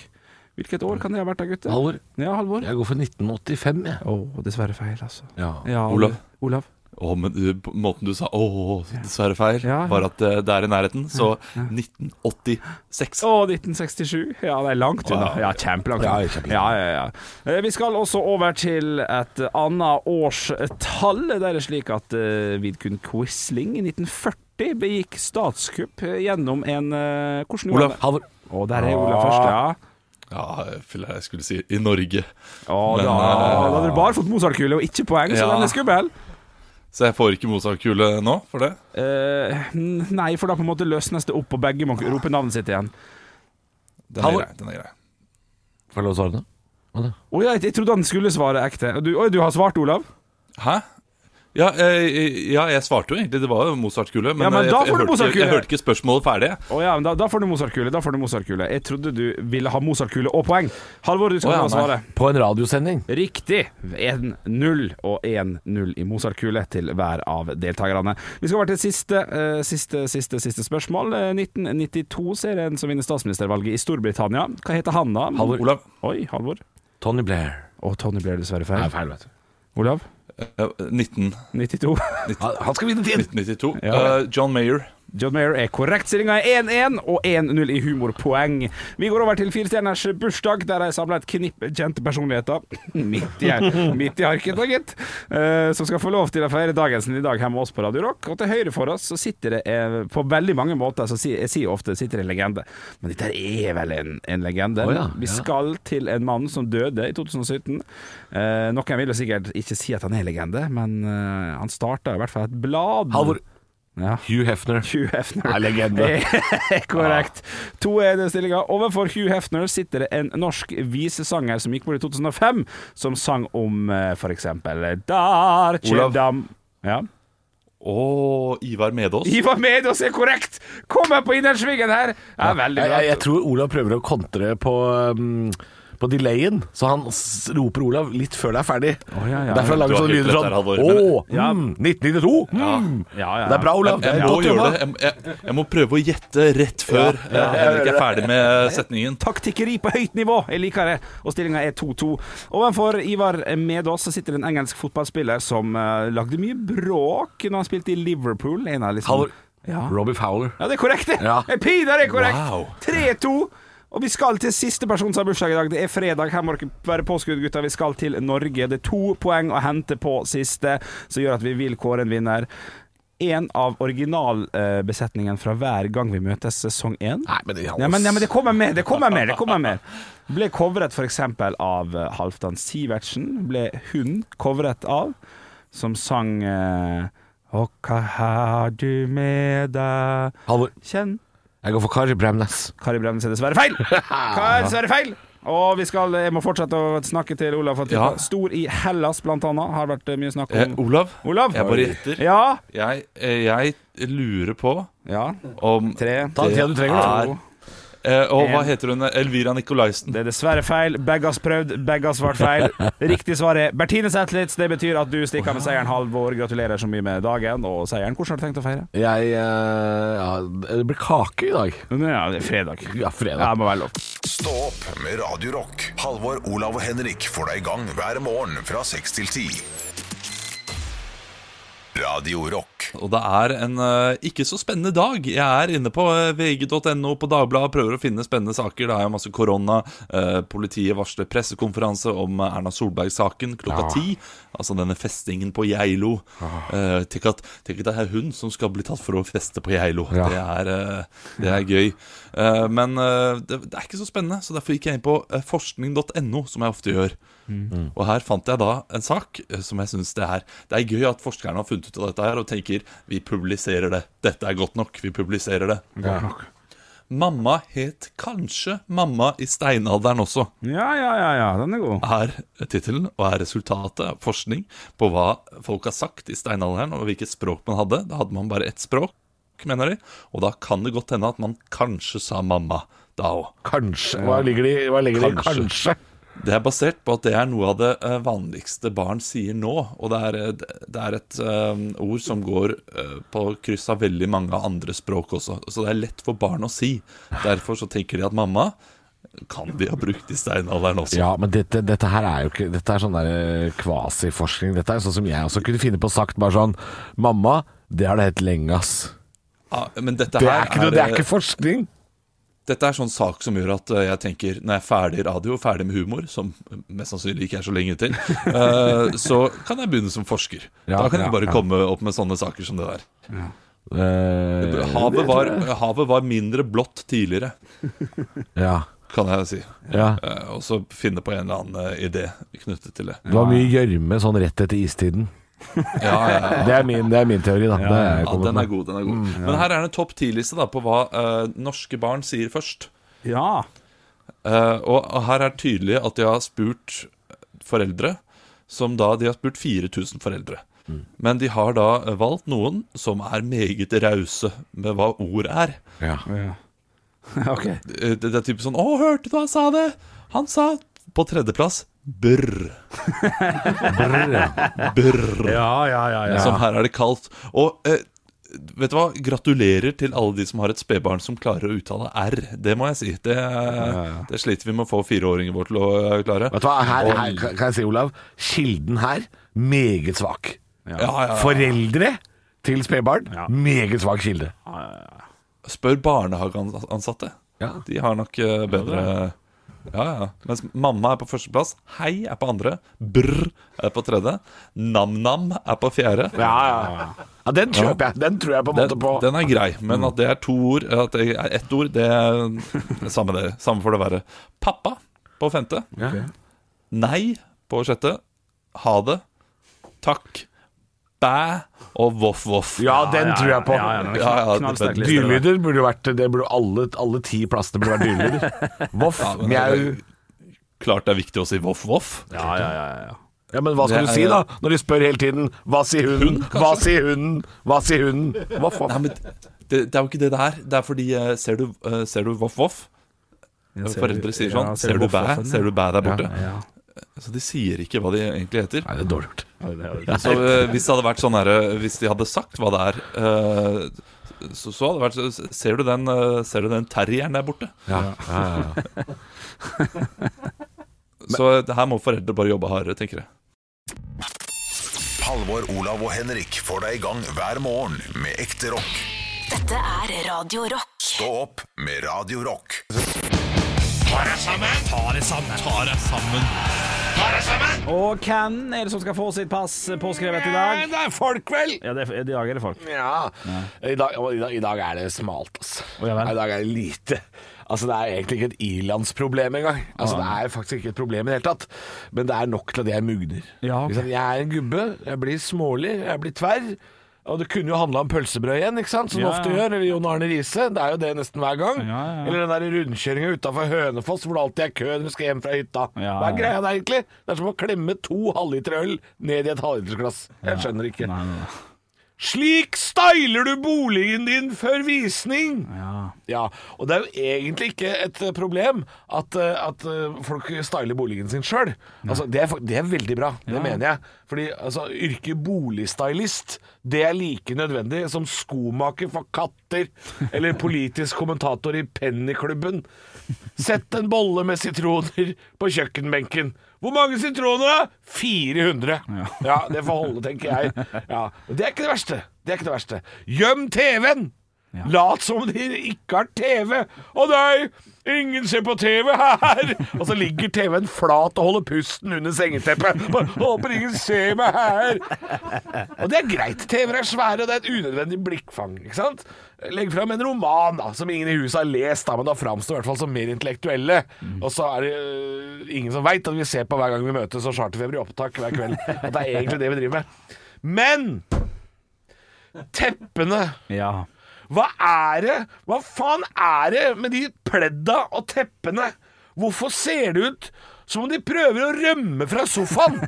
Speaker 5: Hvilket år kan det ha vært da, gutter?
Speaker 3: Halvor,
Speaker 5: Ja, Halvor. Å,
Speaker 3: jeg går for 1985, jeg.
Speaker 5: dessverre feil, altså.
Speaker 3: Ja.
Speaker 5: Ja,
Speaker 4: Olav.
Speaker 5: Olav.
Speaker 4: Å, men du, på måten du sa 'å, dessverre feil',
Speaker 5: Ja, ja.
Speaker 4: var at eh, det er i nærheten. Så 1986.
Speaker 5: Å, 1967. Ja, det er langt unna. Ja, kjempelangt.
Speaker 3: Ja,
Speaker 5: unna.
Speaker 3: kjempelangt.
Speaker 5: Ja, ja, ja. Eh, Vi skal også over til et annet årstall. Der er det slik at eh, Vidkun Quisling i 1940 begikk statskupp eh, gjennom en eh, Hvordan gjorde
Speaker 4: Olav.
Speaker 5: han det?
Speaker 3: Halvor.
Speaker 5: Å, der er Olav først, ja.
Speaker 4: Ja, jeg føler jeg skulle si i Norge.
Speaker 5: Å, da, da hadde du bare fått Mozart-kule og ikke poeng, så
Speaker 4: Ja.
Speaker 5: den er skummel.
Speaker 4: Så jeg får ikke Mozart-kule nå for det?
Speaker 5: Eh, nei, for da på en måte løsnes det opp, og begge må rope navnet sitt igjen.
Speaker 4: Den er
Speaker 3: Halvor.
Speaker 4: grei. den er grei
Speaker 3: Får jeg lov å svare nå?
Speaker 5: Å ja, jeg trodde han skulle svare ekte. Du, oi, du har svart, Olav?
Speaker 4: Hæ? Ja, eh, ja, jeg svarte jo egentlig. Det var jo Mozart-kule. Men,
Speaker 5: Ja, men
Speaker 4: jeg,
Speaker 5: da
Speaker 4: jeg,
Speaker 5: får du
Speaker 4: hørte ikke-
Speaker 5: Mozart-kule.
Speaker 4: jeg hørte ikke spørsmålet ferdig. jeg.
Speaker 5: Å ja, men da, da får du Mozart-kule. Da får du Mozart-kule. Jeg trodde du ville ha Mozart-kule og poeng. Halvor, du skal
Speaker 4: Å ja,
Speaker 5: oh, svare.
Speaker 3: På en radiosending.
Speaker 5: Riktig. 1-0 og 1-0 i Mozart-kule til hver av deltakerne. Vi skal over til siste, eh, siste, siste, siste spørsmål. Eh, 1992 ser en som vinner statsministervalget i Storbritannia. Hva heter han da?
Speaker 4: Olav.
Speaker 5: Oi, Halvor.
Speaker 3: Tony Blair.
Speaker 5: Og Tony ble dessverre feil. Olav?
Speaker 4: Eh, 19,
Speaker 5: 92.
Speaker 3: Han han skal vinne tid!
Speaker 4: 1992.
Speaker 5: Ja.
Speaker 4: Eh, John Mayer.
Speaker 5: John Mayer er korrekt. Stillinga er 1-1 og 1-0 i humorpoeng. Vi går over til Firestjerners bursdag, der jeg samla et knipp kjente personligheter [LAUGHS] midt i, midt i arket, da, gitt, eh, som skal få lov til å feire dagen sin i dag her med oss på Radio Rock. Og til høyre for oss så sitter det eh, på veldig mange måter, så si, jeg sier ofte sitter det en legende, men dette her er vel en, en legende.
Speaker 3: Å ja,
Speaker 5: Vi
Speaker 3: ja.
Speaker 5: skal til en mann som døde i 2017. Eh, noen vil jo sikkert ikke si at han er legende, men eh, han starta i hvert fall et blad.
Speaker 3: Halvor.
Speaker 5: Ja.
Speaker 3: Hugh Hefner.
Speaker 5: Hugh Hefner. Eh,
Speaker 3: Er
Speaker 5: [LAUGHS]
Speaker 3: legende.
Speaker 5: Korrekt. To er det stillinga. Overfor Hugh Hefner sitter det en norsk visesanger som gikk bort i 2005, som sang om eh, for eksempel Dar Kjedam ja.
Speaker 4: Og Ivar Medås.
Speaker 5: Ivar Medås er korrekt! Kommer på innersvingen her! Ja, veldig
Speaker 3: Jeg,
Speaker 5: bra.
Speaker 3: jeg, jeg tror Olav prøver å kontre på, um, på delayen, så han s- roper Olav litt før det er ferdig.
Speaker 5: ja, ja.
Speaker 3: Derfor han
Speaker 4: Du
Speaker 3: lager
Speaker 4: har
Speaker 3: sånne lyder
Speaker 4: helt rett der,
Speaker 3: sånn
Speaker 4: Halvor,
Speaker 3: Å,
Speaker 5: men- Ja.
Speaker 3: mm, 1992! Mm.
Speaker 5: Ja, ja, ja.
Speaker 3: Det er bra, Olav. Det
Speaker 4: Jeg
Speaker 3: er
Speaker 4: må
Speaker 3: godt
Speaker 4: gjøre
Speaker 3: jobba.
Speaker 4: det. Jeg, jeg, jeg må prøve å gjette rett før eh, Henrik er ferdig med setningen.
Speaker 5: Taktikkeri på høyt nivå. Jeg liker det. Og stillinga er 2-2. Ovenfor Ivar Medås så sitter det en engelsk fotballspiller som eh, lagde mye bråk når han spilte i Liverpool. En av liksom
Speaker 3: Halvor.
Speaker 5: Ja.
Speaker 3: Robbie Fowler.
Speaker 5: Ja, det er korrekt, det. [LAUGHS]
Speaker 3: Ja.
Speaker 5: Jeg pider det er korrekt.
Speaker 4: Wow.
Speaker 5: 3-2. Og vi skal til siste person som har bursdag i dag. Det er fredag. Her må dere være påskudd, gutter. Vi skal til Norge. Det er to poeng å hente på siste, som gjør at vi vil kåre en vinner. En av originalbesetningen fra hver gang vi møtes sesong én.
Speaker 3: Nei, men det-
Speaker 5: Ja, men, ja, men det kommer mer, det kommer mer, det kommer mer. Ble covret for eksempel av eh, Halvdan Sivertsen, ble hun covret av, som sang eh, Og hva har du med deg?
Speaker 3: Halvor.
Speaker 5: Kjenn
Speaker 3: Jeg går for Kari Bremnes.
Speaker 5: Kari Bremnes er dessverre
Speaker 4: [LAUGHS]
Speaker 5: feil! Kari er dessverre feil! Og vi skal, jeg må fortsette å snakke til Olav. For at vi
Speaker 4: Ja.
Speaker 5: var Stor i Hellas, blant annet, har vært eh, mye snakk
Speaker 4: Eh,
Speaker 5: om.
Speaker 4: Olav,
Speaker 5: Olav?
Speaker 4: jeg bare gjetter.
Speaker 5: Ja.
Speaker 4: Jeg, eh, jeg lurer på
Speaker 5: ja.
Speaker 4: om
Speaker 5: Tre.
Speaker 3: Ta den tida du trenger, da.
Speaker 4: er- eh, Og hva
Speaker 5: En.
Speaker 4: heter hun? Elvira Nikolaisen.
Speaker 5: Det er dessverre feil. Begge har prøvd, begge har
Speaker 4: [LAUGHS]
Speaker 5: svart feil. Riktig svar er Bertine Zetlitz. Det betyr at du stikker med seieren, Halvor. Gratulerer så mye med dagen og seieren. Hvordan har du tenkt å feire?
Speaker 3: Jeg eh, ja, Det blir kake i dag.
Speaker 5: Ja, det er fredag.
Speaker 3: Ja, fredag.
Speaker 5: Ja, det må være lov.
Speaker 1: Stå opp med Radio Rock. Halvor, Olav og Henrik får deg i gang hver morgen fra 6 til 10. Radio Rock.
Speaker 4: Og det er en eh, ikke så spennende dag. Jeg er inne på eh, vg.no på Dagbladet, prøver å finne spennende saker. Det er jo masse korona. eh, politiet varsler pressekonferanse om eh, Erna Solberg-saken klokka ti. Altså denne festingen på Geilo. Eh, tenk, at, tenk at det er hun som skal bli tatt for å feste på Geilo. Det, er, eh, det er gøy. Eh, men eh, det, det er ikke så spennende, så derfor gikk jeg inn på eh, forskning.no, som jeg ofte gjør. Og her fant jeg da en sak eh, som jeg syns det er Det er gøy at forskerne har funnet ut av dette her og tenker vi publiserer det. Dette er godt nok. Vi publiserer det. Mamma het kanskje mamma i steinalderen også,
Speaker 5: Ja, ja, ja, ja. Den er god.
Speaker 4: er tittelen og er resultatet av forskning på hva folk har sagt i steinalderen, og hvilket språk man hadde. Da hadde man bare ett språk, mener de, og da kan det godt hende at man kanskje sa mamma da òg.
Speaker 3: Kanskje. Hva ligger det i hva ligger det i
Speaker 4: Kanskje.
Speaker 3: kanskje?
Speaker 4: Det er basert på at det er noe av det eh, vanligste barn sier nå. Og det er, eh, det- det er et eh, ord som går eh, på kryss av veldig mange andre språk også. Så det er lett for barn å si. Derfor så tenker de at mamma kan de ha brukt i steinalderen også.
Speaker 3: Ja, men dette, dette her er jo ikke Dette er sånn der eh, kvasiforskning. Dette er sånn som jeg også kunne finne på å sagt, bare sånn Mamma, det har det hett lenge, ass.
Speaker 4: Ja, men dette
Speaker 3: Det
Speaker 4: her
Speaker 3: er ikke, noe, det er
Speaker 4: eh,
Speaker 3: ikke forskning.
Speaker 4: Dette er sånn sak som gjør at eh, jeg tenker Når jeg er ferdig i radio, ferdig med humor Som mest sannsynlig ikke er så lenge til eh, Så kan jeg begynne som forsker
Speaker 3: Ja,
Speaker 4: Da kan
Speaker 3: ja,
Speaker 4: jeg bare
Speaker 3: ja.
Speaker 4: komme opp med sånne saker som det der
Speaker 3: Eh,
Speaker 4: Havet var, havet var mindre blått tidligere
Speaker 3: ja,
Speaker 4: Kan jeg si
Speaker 3: ja.
Speaker 4: Eh, Og så finne på en eller annen eh, idé Knyttet til det
Speaker 3: Det var mye gjørme sånn rett etter istiden.
Speaker 4: Ja, ja, [LAUGHS] ja
Speaker 3: Det er min, det er min teori, da. Det er jeg
Speaker 4: ja,
Speaker 3: kommet
Speaker 4: den er
Speaker 3: med. Mm,
Speaker 4: god, den er god Men her er det en topp 10-liste da På hva eh, norske barn sier først
Speaker 5: Ja.
Speaker 4: Eh, og og her er det tydelig at de har spurt foreldre, som da de har spurt 4000 foreldre.
Speaker 3: Mm.
Speaker 4: Men de har da valgt noen som er meget rause med hva ord er.
Speaker 3: Ja.
Speaker 5: Ja. OK.
Speaker 4: Eh, Det, det er typisk sånn 'Å, hørte du han sa det?' Han sa på tredjeplass 'brr'.
Speaker 3: Brr, ja.
Speaker 4: Brr.
Speaker 5: Ja, ja, ja. ja.
Speaker 4: Som her er det kaldt. Og eh, vet du hva? Gratulerer til alle de som har et spedbarn som klarer å uttale R. Det må jeg si. Det, det sliter vi med å få fireåringen vår til å eh, klare.
Speaker 3: Vet du hva, her, her kan kan jeg si, Olav, kilden her, meget svak.
Speaker 4: Ja, ja, ja.
Speaker 3: Foreldre til spedbarn,
Speaker 5: Ja.
Speaker 3: meget svak kilde.
Speaker 4: Spør barnehageansatte.
Speaker 3: Ja.
Speaker 4: De har nok eh, bedre ja, ja. Mens mamma er på førsteplass, hei er på andre, brr er på tredje, nam-nam er på fjerde.
Speaker 3: Ja, ja. ja den kjøper jeg. Den tror jeg på en måte
Speaker 4: Den,
Speaker 3: på.
Speaker 4: den er grei, men
Speaker 3: Mm.
Speaker 4: at det er to ord At det er [LAUGHS] ett ord, det er samme det. Samme for det verre. Pappa på femte. Nei på sjette. Ha det. Takk. Bæ og voff-voff.
Speaker 3: Ja, den tror jeg på.
Speaker 5: Ja, ja, den er
Speaker 4: Ja, ja,
Speaker 5: kn- knallsterk
Speaker 4: det-
Speaker 5: liste. der.
Speaker 3: Dyrelyder burde jo vært det burde alle, alle ti plassene burde vært
Speaker 4: [LAUGHS]
Speaker 3: dyrelyder. Voff,
Speaker 4: men det er
Speaker 3: mjau
Speaker 4: Klart det er viktig å si voff-voff.
Speaker 5: Ja, ja, ja, ja, ja.
Speaker 3: Ja, men hva skal
Speaker 4: Det
Speaker 3: du
Speaker 4: er-
Speaker 3: si, da? Når de spør hele tiden 'hva sier hunden', 'hva sier hunden', 'hva sier hunden'? Voff, voff.
Speaker 4: Nei, men det, det er jo ikke det det er. Det er fordi eh, Ser du, eh, ser du voff-voff? Foreldre sier sånn.
Speaker 5: Ja,
Speaker 4: ser, du bæ?
Speaker 5: voff-voffen, ja.
Speaker 4: Ser du bæ der borte?
Speaker 5: Ja.
Speaker 4: Så de sier ikke hva de egentlig heter.
Speaker 3: Nei, det er dårlig gjort.
Speaker 4: Så eh, hvis det hadde vært sånn her eh, Hvis de hadde sagt hva det er eh, så, så hadde det vært så- Ser du den, eh, ser du den terrieren der borte?
Speaker 3: Ja, ja, ja, ja.
Speaker 4: [LAUGHS] Så eh, det her må foreldre bare jobbe hardere, tenker jeg.
Speaker 1: Halvor, Olav og Henrik får deg i gang hver morgen med ekte rock.
Speaker 2: Dette er Radio Rock.
Speaker 1: Stå opp med Radio Rock.
Speaker 5: Og hvem er det som skal få sitt pass påskrevet i dag?
Speaker 3: Det er folk, vel!
Speaker 5: Ja, det er, I dag er det folk.
Speaker 3: Ja. I dag, og i dag, i dag er det smalt, altså.
Speaker 5: Å, ja vel.
Speaker 3: I dag er det lite. Altså, Det er egentlig ikke et ilandsproblem engang. Altså, Det er faktisk ikke et problem i det hele tatt. Men det er nok til at jeg mugner.
Speaker 5: Ja, ok.
Speaker 3: Ikke sant? Jeg er en gubbe, jeg blir smålig, jeg blir tverr. Og det kunne jo handla om pølsebrød igjen, ikke sant? som
Speaker 5: Ja,
Speaker 3: det ofte
Speaker 5: ja.
Speaker 3: gjør. Eller Jon Arne Riise. Det er jo det nesten hver gang.
Speaker 5: Ja, ja, ja.
Speaker 3: Eller den der rundkjøringa utafor Hønefoss hvor det alltid er kø når du skal hjem fra hytta.
Speaker 5: Ja,
Speaker 3: Hva er
Speaker 5: ja.
Speaker 3: greia der, egentlig? Det er som å klemme to halvliter øl ned i et halvlitersglass. Jeg skjønner ikke.
Speaker 5: Nei, nei, nei.
Speaker 3: Slik styler du boligen din før visning!
Speaker 5: Ja.
Speaker 3: Ja, og det er jo egentlig ikke et eh, problem at, eh, at eh, folk styler boligen sin sjøl. Altså, det, er fa- det er veldig bra, det mener jeg. Fordi altså, yrket boligstylist, det er like nødvendig som skomaker for katter eller politisk kommentator i Pennyklubben. Sett en bolle med sitroner på kjøkkenbenken. Hvor mange sitroner, da? 400. Ja. det får holde, tenker jeg. Ja. Og det er ikke det verste. Det er ikke det verste. Gjem TV-en! Lat som dere ikke har TV. Å nei, ingen ser på TV her! Og så ligger TV-en flat og holder pusten under sengeteppet. Bare, Håper ingen ser meg her! Og det er greit. TV-er er svære, og det er et unødvendig blikkfang. ikke sant? Legg fram en roman da, som ingen i huset har lest, da, men da framstår i hvert fall som mer intellektuelle. Og så er det øh, ingen som veit at vi ser på hver gang vi møtes og charterfeber i opptak hver kveld. At det er egentlig det vi driver med. Men teppene
Speaker 5: ja.
Speaker 3: hva er det? Hva faen er det med de pledda og teppene? Hvorfor ser det ut som om de prøver å rømme fra sofaen?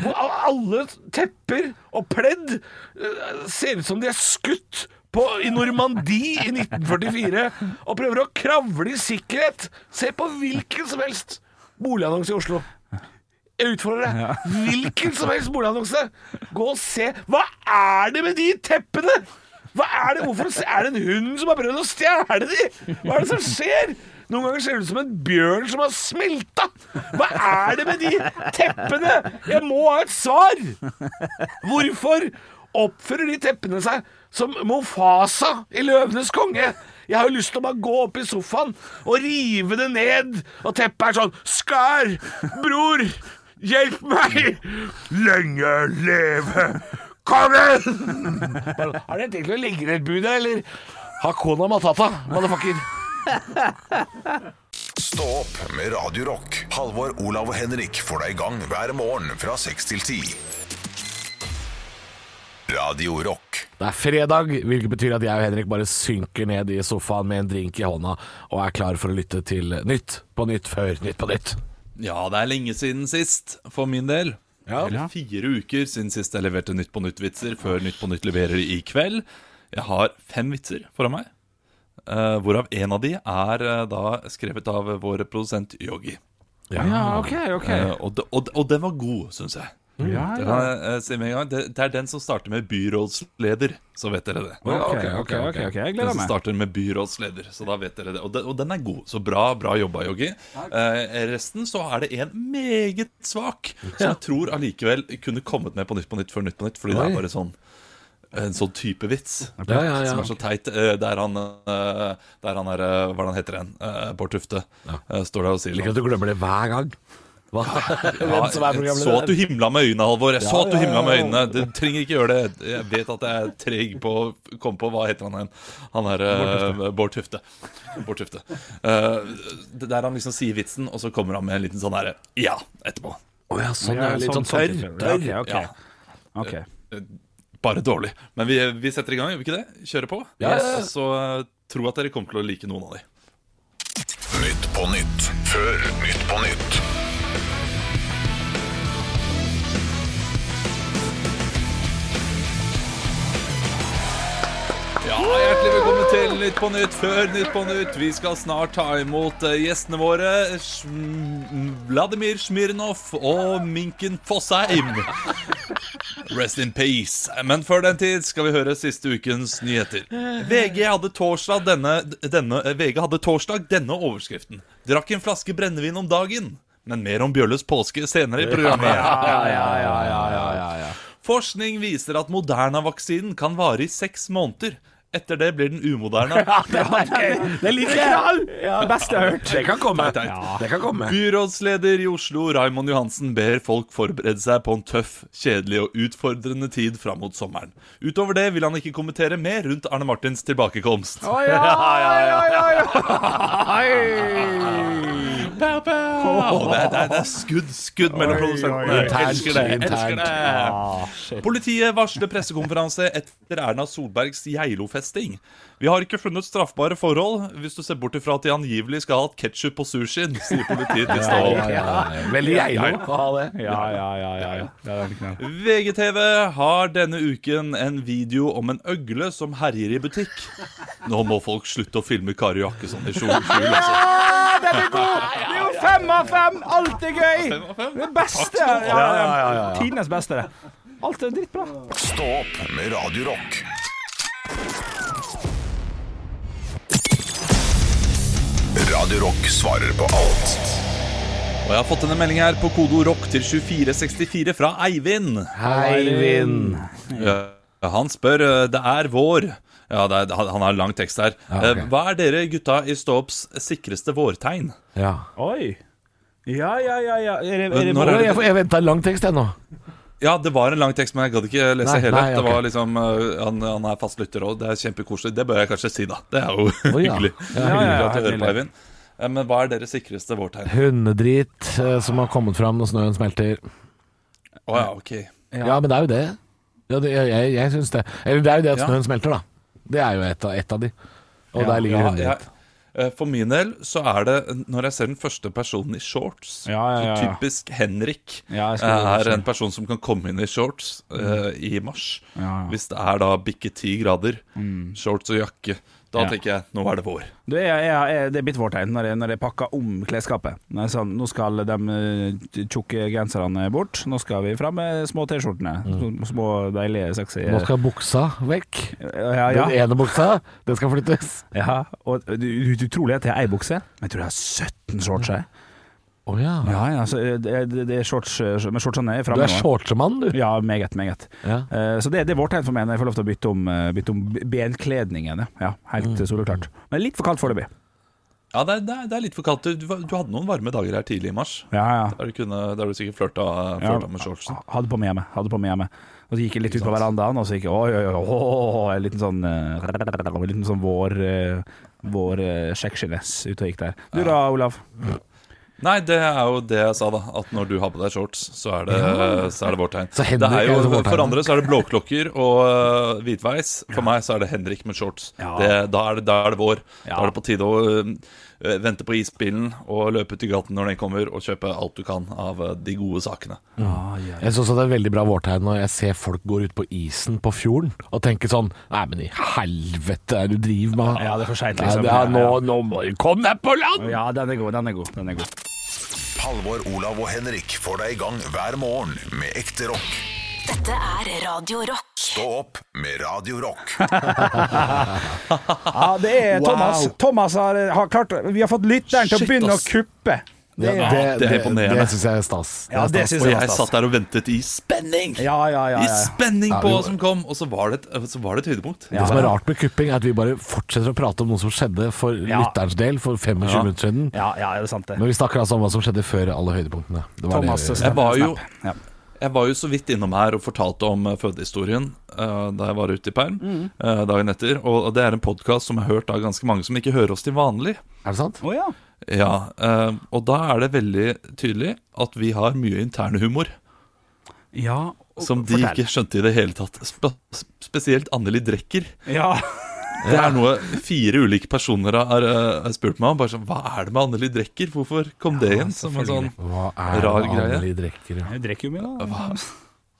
Speaker 3: Hvor a- alle tepper og pledd eh, ser ut som de er skutt på, i Normandie i 1944 og prøver å kravle i sikkerhet. Se på hvilken som helst boligannonse i Oslo. Jeg utfordrer deg. Hvilken som helst boligannonse. Gå og se. Hva er det med de teppene? Hva er det? Hvorfor er det en hund som har prøvd å stjele de? Hva er det som skjer? Noen ganger ser det ut som en bjørn som har smelta. Hva er det med de teppene? Jeg må ha et svar! Hvorfor oppfører de teppene seg som Mofasa i Løvenes konge? Jeg har jo lyst til å bare gå opp i sofaen og rive det ned, og teppet er sånn Skar! Bror! Hjelp meg! Lenge leve kongen! Bare, Har dere tenkt å legge ned budet, eller? Hakona Matata, motherfucker.
Speaker 1: Stå opp med Radio Rock. Halvor, Olav og Henrik får deg i gang hver morgen fra 6 til 10. Radio Rock.
Speaker 3: Det er fredag, hvilket betyr at jeg og Henrik bare synker ned i sofaen med en drink i hånda og er klar for å lytte til Nytt på nytt før Nytt på nytt.
Speaker 4: Ja, det er lenge siden sist, for min del.
Speaker 3: Ja.
Speaker 4: Eller fire uker siden sist jeg leverte Nytt på nytt-vitser, før Nytt på nytt leverer i kveld. Jeg har fem vitser foran meg, eh, hvorav en av de er eh, da skrevet av vår produsent Yogi.
Speaker 5: Ja, OK, OK.
Speaker 4: Eh, og, de, og, de- og den var god, syns jeg.
Speaker 5: Ja,
Speaker 4: Det,
Speaker 5: ja.
Speaker 4: kan jeg, eh, si med en gang. Det, det er den som starter med byrådsleder, så vet dere det.
Speaker 5: OK, OK, OK. ok, Jeg
Speaker 4: Den
Speaker 5: gleder
Speaker 4: som
Speaker 5: meg.
Speaker 4: starter med byrådsleder, så da vet dere det. Og den, og den er god, så bra, bra jobba, Yogi. Eh, resten så er det en meget svak, som jeg tror allikevel kunne kommet med på Nytt på Nytt før Nytt på Nytt, fordi det
Speaker 3: Oi.
Speaker 4: er bare sånn en sånn type vits
Speaker 3: Ja, ja, ja.
Speaker 4: som er så teit. eh, Der han, eh, der han er eh, Hva er det han heter igjen? Eh, Bård Tufte. eh, Står der og sier
Speaker 3: Ikke
Speaker 4: sånn.
Speaker 3: at du glemmer det hver gang. Hva? Hvem som er
Speaker 4: jeg så at du
Speaker 3: programleder.
Speaker 4: himla med øynene, Halvor. Jeg så at du
Speaker 3: ja, ja,
Speaker 4: himla med
Speaker 3: ja.
Speaker 4: øynene. Du trenger ikke gjøre det. Jeg vet at jeg er treg på å komme på Hva heter han igjen? Han er eh, Bård Tufte. Bård Tufte. Eh, det der han liksom sier vitsen, og så kommer han med en liten sånn herre Ja, etterpå.
Speaker 3: Å ja, sånn
Speaker 5: Ja,
Speaker 3: ja. Litt sånn tørr.
Speaker 5: type.
Speaker 3: tørr.
Speaker 5: Ja, OK.
Speaker 4: Ja.
Speaker 5: ok.
Speaker 4: Eh, Bare dårlig. Men vi, vi setter i gang, gjør vi ikke det? Kjører på.
Speaker 3: Ja, ja, ja.
Speaker 4: Og Så eh, tro at dere kommer til å like noen av de.
Speaker 1: Nytt på nytt før Nytt på nytt.
Speaker 4: Ja, Hjertelig velkommen til Nytt på Nytt før Nytt på Nytt. Vi skal snart ta imot eh, gjestene våre Shm- Vladimir Smirnov og Minken Fossheim. Rest in peace. Men før den tid skal vi høre siste ukens nyheter. VG hadde torsdag denne, denne, eh, VG hadde torsdag denne overskriften. Drakk en flaske brennevin om dagen. Men mer om Bjørles påske senere i programmet.
Speaker 5: Ja, ja, ja, ja, ja, ja, ja.
Speaker 4: Forskning viser at Moderna-vaksinen kan vare i seks måneder. Etter det blir den umoderne.
Speaker 5: Det liker jeg! Ja, det beste jeg har hørt.
Speaker 3: Det kan komme.
Speaker 4: teit.
Speaker 3: Det kan komme.
Speaker 4: Byrådsleder i Oslo, Raimond Johansen, ber folk forberede seg på en tøff, kjedelig og utfordrende tid fram mot sommeren. Utover det vil han ikke kommentere mer rundt Arne Martins tilbakekomst.
Speaker 5: Å ja, ja, ja, ja,
Speaker 4: Pow, pow. Å, det, er- det, er- det er skudd, skudd mellom produsentene.
Speaker 3: Internt,
Speaker 4: Elsker det.
Speaker 3: internt.
Speaker 4: Elsker det. Politiet varsler pressekonferanse etter Erna Solbergs Geilo-festing. Vi har ikke funnet straffbare forhold, hvis du ser bort ifra at de angivelig skal ha hatt ketsjup på sushien, sier politiet til Stål.
Speaker 3: Veldig geilo å ha det.
Speaker 5: ja, ja, ja, ja, ja. Det er veldig knall.
Speaker 4: VGTV har denne uken en video om en øgle som herjer i butikk. Nå må folk slutte å filme Kari Jakkesson i kjole. kjole, Altså.
Speaker 5: Den er god! Det er jo fem av fem! Alt er gøy!
Speaker 4: Fem av fem.
Speaker 5: Det beste! Ja, ja, ja, ja. Tidenes beste, det. Alt er drittbra.
Speaker 1: Stå opp med Radio Rock. Radio Rock svarer på alt.
Speaker 4: Og jeg har fått denne meldingen her på kodo rock til 2464 fra Eivind.
Speaker 3: Hei, Vind.
Speaker 4: Eh, Han spør eh, Det er vår. Ja, det er, han han har en lang tekst her. Eh, Hva er dere gutta i Ståops sikreste vårtegn?
Speaker 3: Ja.
Speaker 5: Oi. Ja, ja, ja, ja. Er det, er det
Speaker 4: Når
Speaker 5: vår?
Speaker 4: er det-
Speaker 3: Jeg, jeg venta en lang tekst, jeg nå.
Speaker 4: Ja, det var en lang tekst, men jeg gadd ikke lese
Speaker 3: Nei,
Speaker 4: hele.
Speaker 3: nei,
Speaker 4: Det
Speaker 3: ok.
Speaker 4: var liksom, eh, han, han er fast lytter òg, det er kjempekoselig. Det bør jeg kanskje si, da. Det er jo
Speaker 3: ja.
Speaker 4: hyggelig.
Speaker 5: ja,
Speaker 4: hyggelig
Speaker 5: ja,
Speaker 4: at du
Speaker 5: helt
Speaker 4: hører på,
Speaker 5: nydelig.
Speaker 4: Eivind. Eh, Men hva er deres sikreste vårtegn?
Speaker 3: Hundedrit eh, som har kommet fram når snøen smelter.
Speaker 4: Å ja, ok.
Speaker 3: Ja. men det er jo det. Ja, det jeg jeg, jeg syns det. Eller det er jo det at
Speaker 4: Ja.
Speaker 3: snøen smelter, da. Det er jo et av, et av de. Og der ligger
Speaker 4: Ja,
Speaker 3: hundedritt.
Speaker 4: jeg, eh, for min del så er det når jeg ser den første personen i shorts
Speaker 5: Ja, ja, ja,
Speaker 4: så
Speaker 5: ja.
Speaker 4: Typisk Henrik
Speaker 5: Ja, jeg
Speaker 4: eh,
Speaker 5: skulle
Speaker 4: er
Speaker 5: si. Mm.
Speaker 4: en person som kan komme inn i shorts eh, i mars.
Speaker 5: Ja, ja.
Speaker 4: Hvis det er da bikke ti grader, shorts og jakke. Da
Speaker 5: Ja.
Speaker 4: tenker jeg nå er det vår.
Speaker 5: Du, jeg, jeg, jeg, det er blitt vårt tegn når jeg, når jeg pakker om klesskapet. Når jeg sa, nå skal de eh, tjukke genserne bort, nå skal vi fram med små T-skjortene. Små- Små, deilige, sexy
Speaker 3: Nå skal buksa vekk.
Speaker 5: ja, ja,
Speaker 3: Den
Speaker 5: ja.
Speaker 3: ene buksa, den skal flyttes.
Speaker 5: ja. Og du, du, du tror det at jeg har ei bukse, men jeg tror jeg har 17 shorts. Jeg.
Speaker 3: Å ja.
Speaker 5: Ja, ja, så eh, det, det det er shorts, eh, men shortsene er
Speaker 3: Du
Speaker 5: framme.
Speaker 3: er shortsemann, du.
Speaker 5: Ja, meget, meget.
Speaker 3: Ja.
Speaker 5: Eh, Så det, det er vårt tegn for meg når jeg får lov til å bytte om, eh, bytte om b- benkledningen. ja. Ja, helt mm. soleklart. Men litt for kaldt foreløpig.
Speaker 4: Ja, det er, det er- det er litt for kaldt. Du, du hadde noen varme dager her tidlig i mars.
Speaker 5: Ja, ja.
Speaker 4: Der du, kunne, der du sikkert flørta,
Speaker 5: Ja.
Speaker 4: flørta med shortsen.
Speaker 5: Hadde på meg hjemme. Hadde på meg hjemme. Og så gikk jeg litt ut på verandaen, og så gikk jeg oi, oi, oi, oi, oi, en liten sånn eh, En liten sånn vår eh, Vår eh, sjekkskinnes ute og gikk der. Du da, Olav?
Speaker 4: Nei, det er jo det jeg sa, da. At når du har på deg shorts, så er det, så er det vårt tegn.
Speaker 3: Så Henrik
Speaker 4: det er
Speaker 3: er det
Speaker 4: jo,
Speaker 3: vårt tegn.
Speaker 4: for andre så er det blåklokker og øh, hvitveis. For meg så er det Henrik med shorts.
Speaker 5: Ja.
Speaker 4: Det, da, er det, da er det vår.
Speaker 5: Ja.
Speaker 4: Da er det på tide å øh, vente på isbilen og løpe ut i gaten når den kommer, og kjøpe alt du kan av øh, de gode sakene.
Speaker 3: Jeg syns det er veldig bra vårtegn når jeg ser folk går ut på isen på fjorden og tenker sånn Nei, men i helvete er det du driver med?
Speaker 5: Ja, det er for sent, liksom.
Speaker 3: Nei, det er, nå, nå må du komme deg på land!
Speaker 5: Ja, den er god, den er god. Den er god.
Speaker 1: Halvor, Olav og Henrik får deg i gang hver morgen med ekte rock.
Speaker 2: Dette er Radio Rock.
Speaker 1: Stå opp med Radio Rock.
Speaker 5: Ja, det er Thomas. Thomas har, eh, har klart Vi har fått lytteren til å
Speaker 4: Shit,
Speaker 5: begynne
Speaker 4: ass.
Speaker 5: å kuppe. Det,
Speaker 3: Ja,
Speaker 5: er-
Speaker 4: det er imponerende.
Speaker 3: Det, det syns jeg er stas.
Speaker 5: ja, det syns
Speaker 4: Og
Speaker 5: jeg
Speaker 4: jeg
Speaker 5: var
Speaker 4: satt
Speaker 5: stas.
Speaker 4: der og ventet i spenning!
Speaker 5: Ja, ja, ja,
Speaker 4: I
Speaker 5: ja.
Speaker 4: spenning på
Speaker 3: vi var-
Speaker 4: hva som kom, og så var det et, eh, så var det et høydepunkt.
Speaker 3: Det som er rart med kupping, er at vi bare fortsetter å prate om noe som skjedde for
Speaker 5: Ja.
Speaker 3: lytterens del for 25
Speaker 4: Ja.
Speaker 3: minutter siden.
Speaker 5: Ja, ja, det er sant, det.
Speaker 3: Men vi snakker altså om hva som skjedde før alle høydepunktene. Det var
Speaker 5: Thomas'
Speaker 3: det.
Speaker 5: snap-
Speaker 4: var jo-
Speaker 5: snap. ja.
Speaker 4: Jeg var jo så vidt innom her og fortalte om eh, fødehistorien eh, da jeg var ute i perm
Speaker 3: Mm.
Speaker 4: eh, dagen etter. Og og det er en podkast som jeg har hørt av ganske mange som ikke hører oss til vanlig.
Speaker 3: Er det sant?
Speaker 5: Å ja.
Speaker 4: Ja, eh, Og da er det veldig tydelig at vi har mye internhumor
Speaker 5: ja. og-
Speaker 4: som de
Speaker 5: fortell.
Speaker 4: ikke skjønte i det hele tatt. Spe spesielt Anneli Drecker.
Speaker 5: Ja.
Speaker 4: Det er noe fire ulike personer har eh, spurt meg om. Bare sånn, Hva er det med Anneli Drecker? Hvorfor kom det inn? Som en sånn
Speaker 3: Hva er
Speaker 4: Rar
Speaker 3: det
Speaker 4: greie.
Speaker 3: Anneli drikker? ja?
Speaker 5: Jeg drikker jo mye,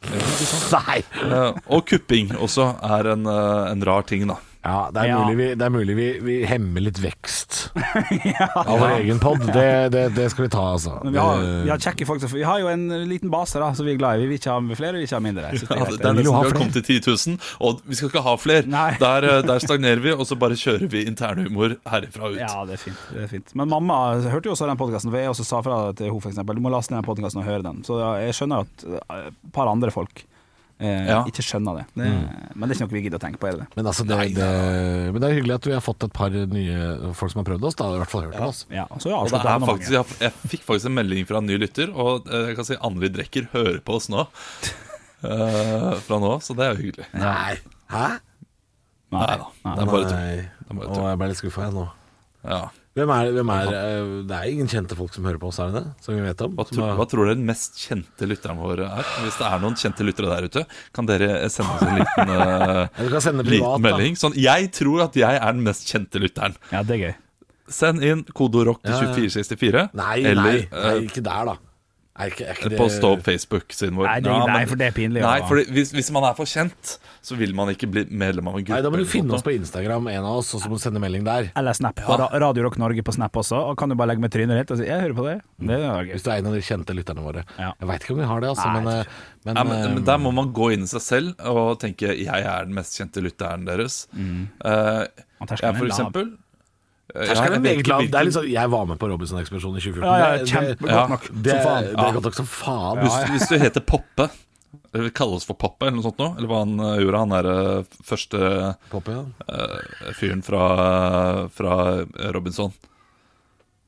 Speaker 5: da.
Speaker 3: Nei!
Speaker 4: Eh, Og kupping også er en, eh, en rar ting, da.
Speaker 3: Ja, det er
Speaker 5: Ja.
Speaker 3: mulig, vi, det er mulig vi, vi hemmer litt vekst
Speaker 5: [LAUGHS]
Speaker 3: av vår egen pod. Det, det, det skal vi ta, altså.
Speaker 5: Men vi har, vi har kjekke folk som Vi har jo en liten base da som vi er glad i. Vi vil ikke ha flere, vi vil ikke ha mindre. Så det er
Speaker 4: [LAUGHS] Ja,
Speaker 5: greit,
Speaker 4: Altså, det
Speaker 5: det.
Speaker 4: er
Speaker 3: vil jo
Speaker 4: nesten
Speaker 3: ha
Speaker 4: vi har
Speaker 3: flere.
Speaker 4: kommet til 10 000, og vi skal ikke ha flere.
Speaker 5: Nei.
Speaker 4: Der, eh, der stagnerer vi, og så bare kjører vi internhumor herifra ut.
Speaker 5: Ja, det er fint. Det er fint. Men mamma hørte jo også den podkasten, for jeg også sa fra til henne for eksempel Du må laste ned den podkasten og høre den. Så jeg skjønner at eh, et par andre folk eh,
Speaker 4: Ja. Mm.
Speaker 5: ikke skjønner det. det Men det er ikke noe vi gidder å tenke på, er det det?
Speaker 3: Men, altså, det, det, men det er hyggelig at vi har fått et par nye folk som har prøvd oss. Da har vi i hvert fall hørt om oss.
Speaker 5: Ja, altså, så jeg
Speaker 3: altså,
Speaker 4: Og det
Speaker 5: avslutter
Speaker 4: er
Speaker 5: abonnementet.
Speaker 4: faktisk, jeg, jeg fikk faktisk en melding fra en ny lytter, og eh, jeg kan si Anneli Drecker hører på oss nå.
Speaker 3: [LAUGHS]
Speaker 4: Eh, fra nå av, så det er jo hyggelig.
Speaker 3: Nei. Hæ?
Speaker 5: Nei.
Speaker 4: Nei da. Det er bare tull. Det er bare
Speaker 3: Å,
Speaker 4: tull.
Speaker 3: jeg ble litt skuffa, jeg nå.
Speaker 4: Ja.
Speaker 3: Hvem er, hvem er, eh, det er ingen kjente folk som hører på oss, er det det? Som vi vet om?
Speaker 4: Hva,
Speaker 3: Som
Speaker 4: tror,
Speaker 3: har-
Speaker 4: hva tror dere den mest kjente lytteren vår er? Hvis det er noen kjente lyttere der ute, kan dere sende oss en liten, eh,
Speaker 3: [LAUGHS] Ja, du kan sende privat,
Speaker 4: liten
Speaker 3: da.
Speaker 4: melding? Sånn, jeg tror at jeg er den mest kjente lytteren.
Speaker 5: Ja, det er gøy.
Speaker 4: Send inn kodeord rock til
Speaker 3: Ja, ja.
Speaker 4: 2464.
Speaker 3: Nei,
Speaker 4: eller,
Speaker 3: nei, nei,
Speaker 4: eh,
Speaker 3: ikke der, da. Er ikke, er ikke det-
Speaker 4: På stå Eh, opp Facebook-siden vår.
Speaker 5: Nei, det- nei, for det er pinlig, altså.
Speaker 4: Nei,
Speaker 5: ja.
Speaker 4: for hvis, hvis man er for kjent, så vil man ikke bli medlem av en gruppe.
Speaker 3: Nei, da må du
Speaker 4: eller
Speaker 3: finne
Speaker 4: noe
Speaker 3: oss
Speaker 4: sånt.
Speaker 3: på Instagram, en av oss, og så må du sende melding der.
Speaker 5: Eller Snap. På Ra- Radio Rock Norge på Snap også. Og kan du bare legge med trynet ditt og si 'jeg hører på det'? Det er gøy.
Speaker 3: Hvis du er en av de kjente lytterne våre.
Speaker 5: Ja.
Speaker 3: Jeg veit ikke om vi har det, altså,
Speaker 5: Nei,
Speaker 3: men, eh, men,
Speaker 4: Nei, men,
Speaker 3: eh,
Speaker 4: men Der må man gå inn i seg selv og tenke 'jeg er den mest kjente lytteren deres'. Eh,
Speaker 5: Mm. Og terskelen
Speaker 4: jeg,
Speaker 5: er
Speaker 4: for
Speaker 5: lav.
Speaker 4: eksempel eh,
Speaker 3: Her skal det
Speaker 4: jeg vet
Speaker 3: meget
Speaker 4: ikke
Speaker 3: lav. Det er liksom
Speaker 4: hvilken-
Speaker 3: litt sånn, Jeg var med på Robinson-ekspedisjonen i 2014.
Speaker 5: Ja, ja,
Speaker 3: Det- det-
Speaker 5: kjempegodt
Speaker 4: ja.
Speaker 5: nok.
Speaker 3: Det,
Speaker 5: Som faen.
Speaker 3: det er godt nok som faen.
Speaker 4: hvis, hvis du heter Poppe eller kalles for Poppe, eller noe sånt nå, eller hva han eh, gjorde, han derre første
Speaker 3: Poppe, ja.
Speaker 4: eh, fyren fra, fra Robinson.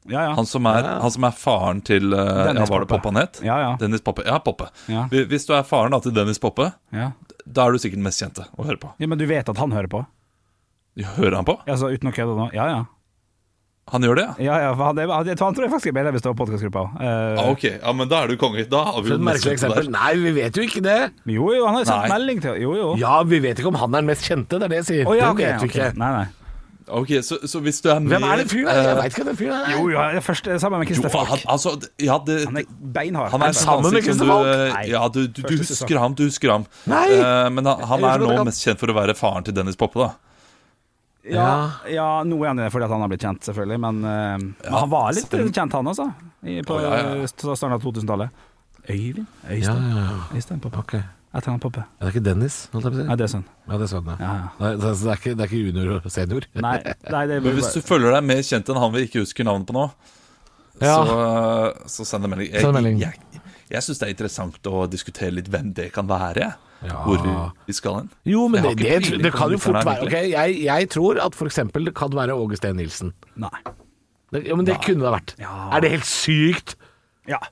Speaker 5: Ja, ja.
Speaker 4: Han som er, han som er faren til eh,
Speaker 5: Dennis
Speaker 4: ja, Var det
Speaker 5: Poppe.
Speaker 4: Poppe han het?
Speaker 5: Ja, ja.
Speaker 4: Dennis Poppe. Ja, Poppe.
Speaker 5: Ja.
Speaker 4: Hvi- Hvis du er faren da, til Dennis Poppe,
Speaker 5: ja.
Speaker 4: da er du sikkert den mest kjente å høre på.
Speaker 5: ja, Men du vet at han hører på?
Speaker 4: Hører han på?
Speaker 5: Altså uten å kødde nå? Ja, ja.
Speaker 4: Han gjør det, ja?
Speaker 5: Ja, ja, for han, er- han, jeg tror- han tror jeg faktisk er medlem i Stå podkastgruppa. Eh,
Speaker 4: ja? Ok, ja, men da er du konge. Da har
Speaker 3: For
Speaker 4: vi jo
Speaker 3: et
Speaker 4: den mest
Speaker 3: merkelig
Speaker 4: kjente
Speaker 3: eksempel.
Speaker 4: der.
Speaker 3: Nei, vi vet jo ikke det.
Speaker 5: jo, jo, han har jo sendt
Speaker 4: Nei.
Speaker 5: melding til Jo, jo.
Speaker 3: Ja, vi vet ikke om han er den mest kjente, det er det jeg sier.
Speaker 5: Å, ja, ok,
Speaker 3: det vet vi
Speaker 5: ok.
Speaker 3: ikke.
Speaker 5: Nei, nei.
Speaker 4: Ok, så, så hvis du er mer
Speaker 3: Hvem er den fyren? der? Jeg veit ikke hvem den fyren er.
Speaker 5: Jo, jo, jeg er først eh, sammen med
Speaker 4: Jo,
Speaker 5: Christer
Speaker 4: han,
Speaker 5: Falk.
Speaker 4: altså, ja, det,
Speaker 5: Han er beinhard. Altså,
Speaker 4: han er
Speaker 3: sammen med Christer
Speaker 4: Falk?
Speaker 3: Falk?
Speaker 5: Nei.
Speaker 4: eh, Ja, du, du, du
Speaker 5: Første sesong.
Speaker 4: husker ham, du husker ham.
Speaker 3: Nei!
Speaker 4: Eh, men han, han
Speaker 3: Jeg husker
Speaker 4: er nå
Speaker 3: at han-
Speaker 4: mest kjent for å være faren til Dennis Poppe, da.
Speaker 5: ja, ja, nå er han det fordi at han har blitt kjent, selvfølgelig. Men, eh, men han var litt
Speaker 4: selvfølgelig.
Speaker 5: kjent, han også. I, på
Speaker 4: Å, ja, ja.
Speaker 5: eh, starten av 2000-tallet. Øyvind? Øystein?
Speaker 3: Ja, ja,
Speaker 5: Øystein Poppe.
Speaker 3: Ok. Ja,
Speaker 5: Etter han Poppe.
Speaker 3: det er ikke Dennis, holdt jeg på å
Speaker 5: Nei,
Speaker 3: si.
Speaker 5: det er sånn.
Speaker 3: Ja, det er sånn, ja.
Speaker 5: Ja, ja.
Speaker 3: Nei, så så det, er ikke, det er ikke junior og senior.
Speaker 5: Nei, nei, det er
Speaker 4: Men hvis du føler deg mer kjent enn han vi ikke husker navnet på nå,
Speaker 3: [LAUGHS] Ja.
Speaker 4: så, så send en melding. Jeg,
Speaker 3: Ah. Send en melding.
Speaker 4: Jeg, jeg syns det er interessant å diskutere litt hvem det kan være.
Speaker 3: Ja.
Speaker 4: Hvor vi, vi skal hen.
Speaker 3: Jo, men
Speaker 4: Jeg
Speaker 3: det,
Speaker 4: har
Speaker 3: det,
Speaker 4: ikke peiling
Speaker 3: det
Speaker 4: på
Speaker 3: kan jo
Speaker 4: om
Speaker 3: fort
Speaker 4: lytteren er
Speaker 3: være Ok, jeg, jeg tror at for eksempel det kan være Åge Steen Nilsen.
Speaker 5: Nei.
Speaker 3: Det, ja, men det kunne det vært.
Speaker 5: Ja.
Speaker 3: Er det helt sykt?
Speaker 5: Ja.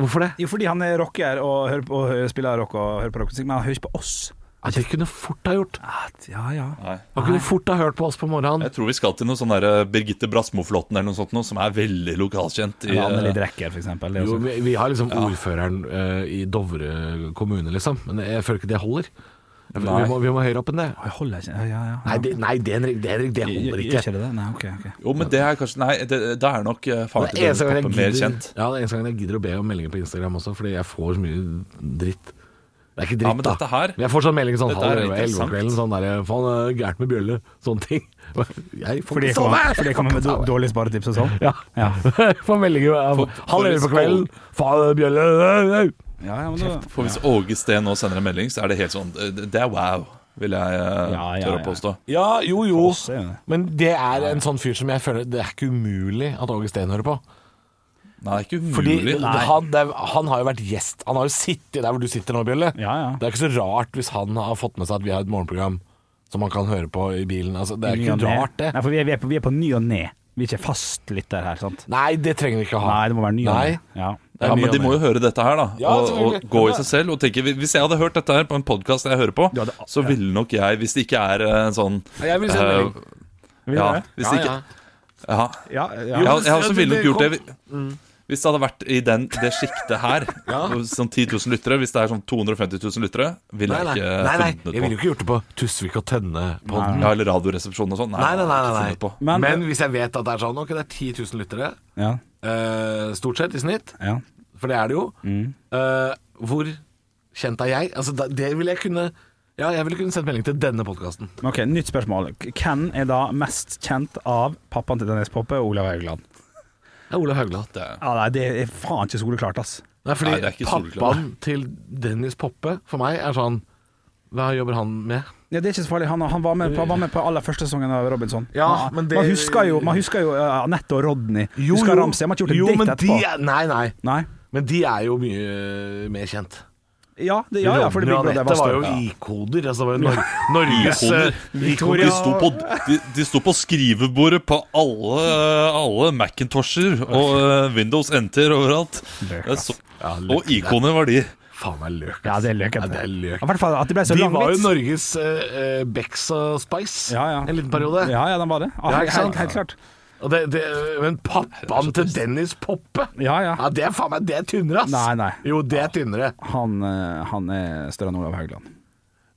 Speaker 3: Hvorfor det?
Speaker 5: Jo, fordi han er rocker og, hører på, og hører- spiller rock og hører på rockmusikk, men han hører ikke på oss.
Speaker 3: Ja, det kunne fort ha gjort.
Speaker 5: Ja, ja.
Speaker 3: Han kunne fort ha hørt på oss på morgenen.
Speaker 4: Jeg tror vi skal til noe sånn der eh, Birgitte Brasmo-flåtten eller noe sånt noe, som er veldig lokalkjent. i,
Speaker 5: Eller Anneli
Speaker 4: eh,
Speaker 5: Drecker, for eksempel. Det er
Speaker 3: Jo,
Speaker 5: også-
Speaker 3: vi, vi har liksom ordføreren eh, i Dovre kommune, liksom. Men jeg føler ikke det holder. Vi
Speaker 4: Nei.
Speaker 3: må, vi må høyere opp enn det.
Speaker 5: Jeg holder ikke Ja, ja. ja.
Speaker 3: Nei, det, nei, det, Henrik, det, Henrik, det holder
Speaker 5: Gjør
Speaker 3: ikke.
Speaker 5: ikke det det? Nei, ok. ok.
Speaker 4: eh, Jo, men det er kanskje Nei, det, det er nok eh, faren
Speaker 3: Det er
Speaker 4: til
Speaker 3: eneste gangen jeg
Speaker 4: Dødens Poppe mer
Speaker 3: gidder-
Speaker 4: kjent.
Speaker 3: Ja, det er eneste gangen jeg gidder å be om meldinger på Instagram også, fordi jeg får så mye dritt. Det er ikke dritt,
Speaker 4: Ja, men dette her-
Speaker 3: da. Men jeg får sånn melding sånn
Speaker 4: Dette
Speaker 3: halv
Speaker 4: er
Speaker 3: elleve elleve om
Speaker 4: interessant.
Speaker 3: kvelden, sånn der Faen, det er gærent med bjølle. Sånne ting. [LAUGHS] Jeg får
Speaker 5: Fordi jeg
Speaker 3: ikke sove.
Speaker 5: kommer, fordi jeg kommer med do- dårlige sparetips og sånn?
Speaker 3: Ja.
Speaker 5: [LAUGHS] Ja.
Speaker 3: Jeg får meldinger om
Speaker 4: For- for
Speaker 3: halv elleve på
Speaker 4: skål.
Speaker 3: kvelden. Faen, det er bjølle.
Speaker 5: Ja, ja, men da-
Speaker 4: For hvis Åge Steen nå sender en melding, så er det helt sånn eh, Det det er wow, vil jeg eh,
Speaker 5: Ja, ja,
Speaker 4: tørre å
Speaker 5: ja.
Speaker 4: påstå.
Speaker 7: Ja, jo, jo.
Speaker 5: Oss er jo det.
Speaker 3: Men det er en sånn fyr som jeg føler Det er ikke umulig at Åge Steen hører på.
Speaker 4: Nei, det er ikke
Speaker 3: Fordi
Speaker 4: umulig.
Speaker 3: han, det er, han har jo vært gjest. Han har jo sittet der hvor du sitter nå, Bjølle.
Speaker 5: Ja, ja.
Speaker 3: Det er ikke så rart hvis han har fått med seg at vi har et morgenprogram som han kan høre på i bilen. Altså, det er
Speaker 5: Ny
Speaker 3: ikke
Speaker 5: og ne.
Speaker 3: rart, det.
Speaker 5: Nei, for vi er, vi er, på, vi er på ny og ned. Vi er ikke fastlytter her, sant?
Speaker 3: Nei, det trenger vi ikke ha.
Speaker 5: Nei, det må være ny og
Speaker 3: Nei.
Speaker 5: ned. Ja.
Speaker 3: Det er
Speaker 4: Ja,
Speaker 3: mye
Speaker 4: men de
Speaker 3: om
Speaker 4: må jo
Speaker 3: det.
Speaker 4: høre dette her, da.
Speaker 3: Ja,
Speaker 4: og, og
Speaker 3: selvfølgelig.
Speaker 4: gå i seg selv og tenke Hvis jeg hadde hørt dette her på en podkast jeg hører på,
Speaker 5: Du hadde-
Speaker 4: så ville nok jeg, hvis det ikke er eh, sånn
Speaker 3: Jeg vil sende
Speaker 4: eh,
Speaker 3: melding.
Speaker 5: Vil
Speaker 4: ja,
Speaker 5: dere?
Speaker 4: hvis det ikke, ja.
Speaker 5: Ja, ja.
Speaker 4: Jeg,
Speaker 5: ja.
Speaker 4: har- jeg har også
Speaker 7: det-
Speaker 4: ville nok
Speaker 7: det
Speaker 4: gjort det
Speaker 3: Mm.
Speaker 4: Hvis det hadde vært i den, det sjiktet
Speaker 3: [LAUGHS]
Speaker 4: her, sånn 10 000 lyttere Hvis det er sånn 250 000 lyttere, ville
Speaker 3: Nei,
Speaker 4: jeg
Speaker 3: nei,
Speaker 4: ikke
Speaker 3: nei, nei.
Speaker 4: funnet
Speaker 3: Jeg ville jo
Speaker 4: det på.
Speaker 3: ikke gjort det på Tusvik og Tønne-podden.
Speaker 4: Ja, eller Radioresepsjonen og sånn.
Speaker 3: Nei, nei, nei.
Speaker 4: jeg
Speaker 3: nei,
Speaker 4: hadde ikke
Speaker 3: nei.
Speaker 4: funnet på.
Speaker 3: Men,
Speaker 5: Men-
Speaker 3: hvis jeg vet at det er sånn Ok, det er 10 000 lyttere,
Speaker 5: ja.
Speaker 3: eh, stort sett, i snitt,
Speaker 5: ja.
Speaker 3: for det er det jo.
Speaker 5: Mm.
Speaker 3: Eh, hvor kjent er jeg? Altså, da- det ville jeg kunne Ja, jeg ville kunne sendt melding til denne podkasten.
Speaker 5: Men OK, nytt spørsmål. Hvem er da mest kjent av pappaen til Dennis Poppe og Olav Haugland?
Speaker 3: Det er Ole Haugland.
Speaker 4: Det er-
Speaker 5: Ja, nei, det er faen ikke soleklart, ass.
Speaker 3: Nei, fordi
Speaker 4: Nei, det er ikke
Speaker 3: pappaen til Dennis Poppe for meg er sånn Hva jobber han med?
Speaker 5: Ja, det er ikke så farlig. Han, han, var, med, han var med på aller første sesongen av Robinson.
Speaker 3: Ja,
Speaker 5: man,
Speaker 3: men det-
Speaker 5: man husker jo, man husker jo eh, Anette og Rodney. husker Ramsey. Han har ikke gjort
Speaker 3: jo,
Speaker 5: en
Speaker 3: men
Speaker 5: date etterpå.
Speaker 3: de er, Nei, nei.
Speaker 5: Nei.
Speaker 3: Men de er jo mye eh, mer kjent.
Speaker 5: Ja, det, ja, ja, for det
Speaker 3: Rodney
Speaker 5: Big
Speaker 3: og
Speaker 5: Brother
Speaker 3: Anette var jo
Speaker 5: større.
Speaker 3: ikoder. Altså, det var jo Nor Norges eh,
Speaker 4: Ikoner.
Speaker 3: Victoria-
Speaker 4: De sto, på, de, de sto på skrivebordet på alle, alle Macintosher og eh, Windows NT-er overalt. Jeg så,
Speaker 3: Ja,
Speaker 4: og ikoner var de.
Speaker 3: Faen meg løk.
Speaker 5: Ja,
Speaker 3: ass.
Speaker 5: det er løk.
Speaker 3: Ja, det er løk.
Speaker 5: I hvert fall at det ble så
Speaker 3: De
Speaker 5: lang
Speaker 3: var jo
Speaker 5: vits.
Speaker 3: Norges eh, eh, Bex og Spice
Speaker 5: Ja, ja.
Speaker 3: en liten periode.
Speaker 5: Ja, ja, den var det. Ja,
Speaker 3: Ja,
Speaker 5: helt,
Speaker 3: ikke sant?
Speaker 5: helt, helt klart.
Speaker 3: Og det, det, men pappaen til Dennis Poppe
Speaker 5: Ja, ja.
Speaker 3: Ja, det er faen meg det er tynnere, ass!
Speaker 5: Nei, nei.
Speaker 3: Jo, det er tynnere.
Speaker 5: Han, eh, han er større enn Olav Haugland.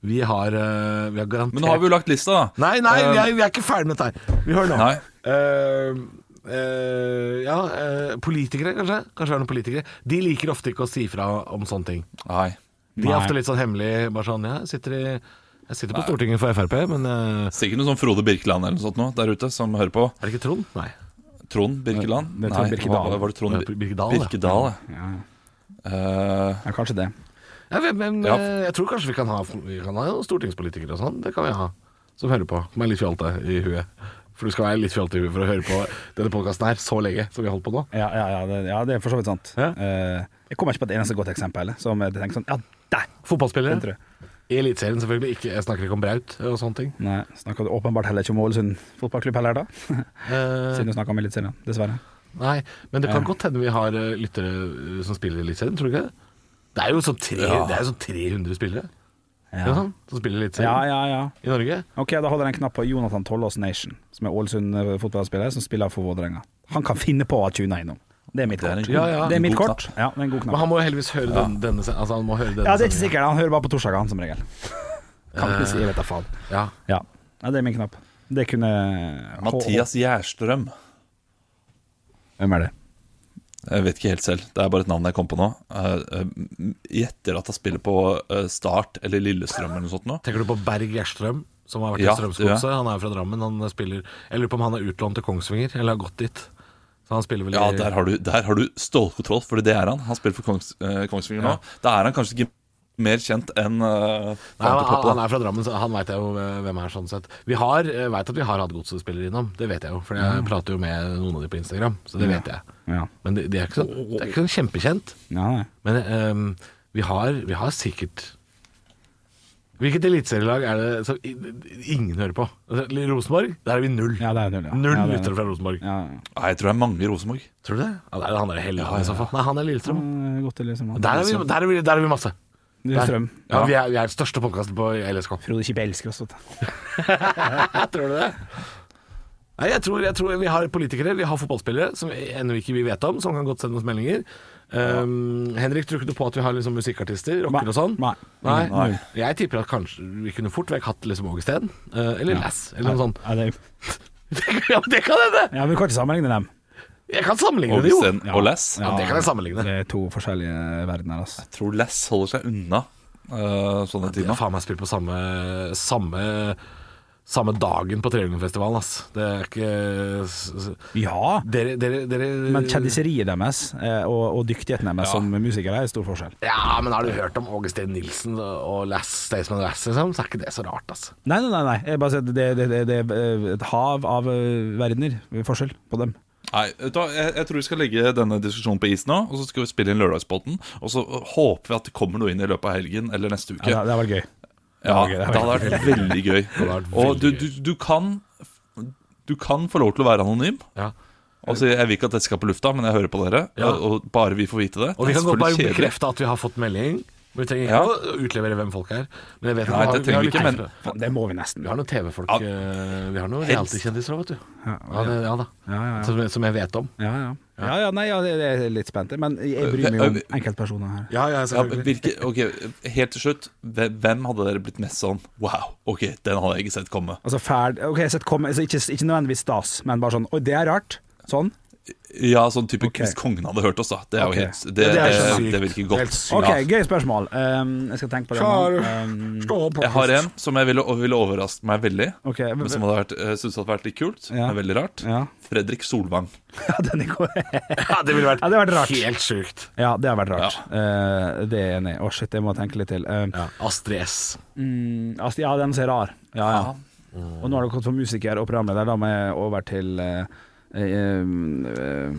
Speaker 3: Vi har, eh, vi har garantert
Speaker 4: Men nå har vi jo lagt lista, da.
Speaker 3: Nei, nei,
Speaker 4: Eh,
Speaker 3: vi er, vi er ikke ferdig med dette her. Vi hører nå.
Speaker 4: Nei.
Speaker 3: Eh, eh, ja, eh, politikere kanskje? Kanskje det er noen politikere? De liker ofte ikke å si fra om sånne ting.
Speaker 4: Nei.
Speaker 3: De er
Speaker 5: Nei.
Speaker 3: ofte litt sånn hemmelig bare sånn Ja, jeg sitter, i, jeg sitter på Stortinget for Frp, men eh,
Speaker 4: Sikkert noe sånn Frode Birkeland eller noe sånt nå, der ute som hører på.
Speaker 3: Er det ikke Trond? Nei.
Speaker 4: Trond Birkeland?
Speaker 5: Det er Trond Birkedal.
Speaker 4: hva- Var det Trond
Speaker 3: Det er Birkedal, ja.
Speaker 4: Birkedal, ja.
Speaker 5: Ja,
Speaker 4: Eh,
Speaker 5: ja kanskje det.
Speaker 3: Jeg, vet, men,
Speaker 4: Ja.
Speaker 3: eh, jeg tror kanskje vi kan ha, vi kan ha noen stortingspolitikere og sånn. Det kan vi ha. Som hører på. Som er litt fjolte i huet. For du skal være litt fjolte i huet for å høre på denne podkasten her så lenge som vi har holdt på nå.
Speaker 5: Ja, ja, ja, det, ja, det er for så vidt sant.
Speaker 3: Ja.
Speaker 5: Eh, jeg kommer ikke på et eneste godt eksempel. Som jeg tenker sånn, ja, der! Den tror
Speaker 3: Fotballspillere.
Speaker 5: jeg.
Speaker 3: I Eliteserien selvfølgelig. Ikke, jeg snakker ikke om Braut og sånne ting.
Speaker 5: Nei, snakker du åpenbart heller ikke om Ålesund fotballklubb heller,
Speaker 3: [LAUGHS]
Speaker 5: da?
Speaker 3: Eh,
Speaker 5: Siden du snakker om Eliteserien, dessverre.
Speaker 3: nei, men det kan godt hende vi har eh, lyttere eh, som spiller i Eliteserien, tror du ikke det? Det er jo sånn, tre,
Speaker 4: Ja.
Speaker 3: det er jo sånn 300 spillere
Speaker 5: Ja.
Speaker 3: ikke sant, som spiller i
Speaker 5: ja,
Speaker 3: Eliteserien
Speaker 5: ja, ja.
Speaker 3: i Norge.
Speaker 5: Ok, da holder jeg en knapp på Jonathan Tollås Nation, som er Ålesund eh, fotballspiller, som spiller for Vålerenga. Han kan finne på å tune innom. Det er mitt
Speaker 4: Det er en
Speaker 5: kort.
Speaker 4: god-
Speaker 3: Ja, ja.
Speaker 5: Det er mitt
Speaker 4: god
Speaker 5: kort. Ja, det er en god
Speaker 3: Men
Speaker 5: knapp.
Speaker 3: han må jo heldigvis høre den, denne sen- altså han må høre denne
Speaker 5: Ja, det er ikke
Speaker 3: sendingen.
Speaker 5: sikkert. Han hører bare på torsdager, han som
Speaker 3: [LAUGHS]
Speaker 5: regel. Kan ikke si, jeg vet da faen.
Speaker 3: Ja.
Speaker 5: Ja. ja, det er min knapp. Det kunne
Speaker 4: Mathias Gjerstrøm.
Speaker 5: Hvem er det?
Speaker 4: Jeg vet ikke helt selv. Det er bare et navn jeg kom på nå. Eh, eh, Gjetter at han spiller på eh, Start eller Lillestrøm eller noe sånt nå.
Speaker 3: Tenker du på Berg Gjerstrøm, som har vært
Speaker 4: Ja,
Speaker 3: i Strømsgodset? Han er jo fra Drammen. Han spiller Jeg lurer på om han er utlånt til Kongsvinger, eller har gått dit. Så han spiller vel
Speaker 4: Ja,
Speaker 3: i
Speaker 4: der har du, der har du stålkontroll, for det er han. Han spiller for Kongs, eh, Kongsvinger nå. Da er han kanskje ikke mer kjent enn eh,
Speaker 3: Nei, han,
Speaker 4: faren til
Speaker 3: han-
Speaker 4: Poppe,
Speaker 3: han
Speaker 4: da.
Speaker 3: er fra Drammen, så han veit jeg jo eh, hvem er, sånn sett. Vi har, eh, vet at vi har hatt godsspillere innom, det vet jeg jo. For jeg prater jo med noen av de på Instagram, så det vet jeg.
Speaker 5: Ja.
Speaker 3: Men det, det, er, ikke sånn, det er ikke sånn kjempekjent.
Speaker 5: Ja, nei.
Speaker 3: Men eh, vi, har, vi har sikkert Hvilket eliteserielag er det som i- ingen hører på? Altså, Rosenborg? Der er vi null.
Speaker 5: Ja, det er null, ja.
Speaker 3: Null
Speaker 5: Ja, det er
Speaker 3: lyttere fra Rosenborg.
Speaker 5: Ja,
Speaker 4: Nei, jeg tror det er mange i Rosenborg.
Speaker 3: Tror du det? Ja, det er han der Helland i så fall. Nei, han er Lillestrøm.
Speaker 5: ja. Godt å liksom
Speaker 3: Der er, vi, der, er vi, der er vi masse.
Speaker 5: Strøm.
Speaker 3: Ja, vi er, vi er den største podkasten på [LAUGHS] LSK.
Speaker 5: Frode Kippe elsker oss. vet du.
Speaker 3: Tror du det? Nei, jeg tror, jeg tror vi har politikere, vi har fotballspillere som vi ennå ikke vi vet om, som kan godt sende oss meldinger. Um, Henrik, tror ikke du på at vi har liksom musikkartister, rocker og sånn?
Speaker 5: Nei.
Speaker 3: Nei.
Speaker 5: Nei.
Speaker 3: Jeg tipper at kanskje vi kunne fort vekk hatt liksom Åge Steen, eh, eller Lass, eller noe sånt. [LAUGHS]
Speaker 5: Ja, det,
Speaker 3: ja, det kan hende!
Speaker 5: ja, men vi kan ikke sammenligne dem.
Speaker 3: Jeg kan sammenligne det, jo.
Speaker 4: Augsten og Lass.
Speaker 3: Ja, det kan jeg sammenligne.
Speaker 5: Det er to forskjellige verdener. Altså.
Speaker 4: Jeg tror Lass holder seg unna eh, sånne ting.
Speaker 3: De har faen meg spilt på samme Samme, samme dagen på Treulingfestivalen, ass. Det er ikke s- s-
Speaker 5: Ja,
Speaker 3: Dere, dere, dere
Speaker 5: men kjendiseriet deres eh, og, og dyktigheten deres som musikere er stor forskjell.
Speaker 3: Ja, men har du hørt om Åge Steen Nilsen og Lass, Staysman Lass, liksom? Så er ikke det så rart, ass.
Speaker 5: Nei, nei, nei. nei. Jeg bare sier at det, det, det, det er et hav av eh, verdener forskjell på dem.
Speaker 4: Nei, vet du hva, jeg, jeg tror vi skal legge denne diskusjonen på is nå, og så skal vi spille inn Lørdagspodden. Og så eh, håper vi at det kommer noe inn i løpet av helgen eller neste uke.
Speaker 5: Ja, det, det var gøy.
Speaker 4: Ja,
Speaker 5: det
Speaker 4: det
Speaker 5: hadde
Speaker 4: hadde vært veldig gøy.
Speaker 3: vært
Speaker 4: Og du,
Speaker 3: veldig
Speaker 4: du, du, kan, du kan få lov til å være anonym.
Speaker 3: Ja.
Speaker 4: Altså, Jeg vil ikke at dette skal på lufta, men jeg hører på dere.
Speaker 3: Ja.
Speaker 4: Og, og bare vi får vite det.
Speaker 3: Og vi
Speaker 4: Det er
Speaker 3: kan godt bare
Speaker 4: selvfølgelig kjedelig.
Speaker 3: bekrefte at vi har fått melding. Men vi trenger ikke
Speaker 4: Ja.
Speaker 3: å utlevere hvem folk er. Men jeg vet
Speaker 4: Nei,
Speaker 3: at
Speaker 4: det trenger vi
Speaker 3: litt-
Speaker 4: ikke, men-
Speaker 5: Faen, Det må vi nesten.
Speaker 3: Vi har noen TV-folk
Speaker 4: Ja.
Speaker 3: eh, Vi har noen
Speaker 4: Helst.
Speaker 3: reality-kjendiser òg, vet du. Ja, det, ja da.
Speaker 5: ja, ja.
Speaker 3: Som, som jeg vet om.
Speaker 5: Ja, ja. ja, ja nei, ja, det, det er litt spent. Men jeg bryr meg jo om enkeltpersoner her.
Speaker 3: Ja, ja,
Speaker 4: Ja, men virke, ok, Helt til slutt, hvem hvem hadde dere blitt mest sånn Wow, ok, den hadde jeg ikke sett komme.
Speaker 5: Altså ferd Ok, så kom, altså, ikke, ikke nødvendigvis stas, men bare sånn Oi, det er rart. Sånn.
Speaker 4: Ja, sånn type
Speaker 5: Ok.
Speaker 4: Hvis kongen hadde hørt oss, da. Det er
Speaker 5: Ok.
Speaker 4: jo helt Det,
Speaker 3: det
Speaker 4: det,
Speaker 3: er så sykt.
Speaker 4: det virker
Speaker 3: Helt
Speaker 4: godt.
Speaker 3: sykt.
Speaker 5: Ok,
Speaker 4: Ja.
Speaker 5: gøy spørsmål. Um, jeg skal tenke på det. nå. Um,
Speaker 4: Jeg har en som jeg ville, ville overraske meg veldig.
Speaker 5: Ok,
Speaker 4: Men som hadde vært, jeg synes hadde vært litt kult.
Speaker 5: Ja.
Speaker 4: Men veldig rart.
Speaker 5: Ja.
Speaker 4: Fredrik Solvang.
Speaker 5: [LAUGHS] ja, den er god.
Speaker 3: [LAUGHS] Ja, det ville vært,
Speaker 5: Ja, det hadde vært rart.
Speaker 3: helt sjukt.
Speaker 5: ja, det har vært rart. Eh, det er jeg enig i. Å, shit, jeg må tenke litt til. Eh,
Speaker 3: Ja, Astrid S.
Speaker 5: mm, altså, ja, den ser rar. Ja, ja. Og nå har det gått for musiker og programleder. Da må jeg over til eh, eh, eh,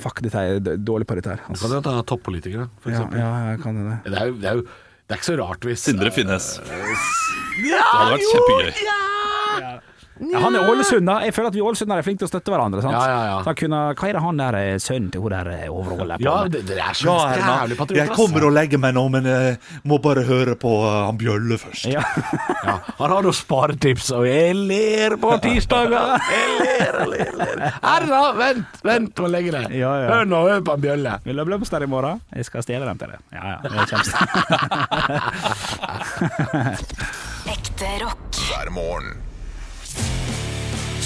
Speaker 5: Fuck, dette er d- dårlig på dette her.
Speaker 3: Så kan du
Speaker 5: Altså.
Speaker 3: ta toppolitikere, for
Speaker 5: Ja,
Speaker 3: eksempel.
Speaker 5: ja, jeg kan det.
Speaker 3: Det er jo, det er jo det er ikke så rart hvis
Speaker 4: Sindre Finnes. Det hadde vært kjempegøy.
Speaker 5: Ja, han er Ålesund, da. Jeg føler at vi ålesunder er flinke til å støtte hverandre. Sant?
Speaker 3: Ja, ja, ja.
Speaker 5: Så han kunne, hva er det han der eh, sønnen til hun der eh, overholder på?
Speaker 3: Ja,
Speaker 5: med?
Speaker 3: det, det er så jævlig patriotisk. altså.
Speaker 4: og legger meg nå, men jeg må bare høre på han Bjølle først.
Speaker 5: ja.
Speaker 3: Ja, her har du sparetips, og jeg ler på tirsdager. Jeg ler, jeg ler, jeg ler. Herre, vent, vent med å legge deg.
Speaker 5: Ja, ja.
Speaker 3: Hør nå, hør på en bjølle.
Speaker 5: Vil du ha blomster i morgen? Jeg skal stjele dem til deg. Ja, ja. Det kommer.
Speaker 8: Ekte rock.
Speaker 1: hver morgen.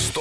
Speaker 1: Stå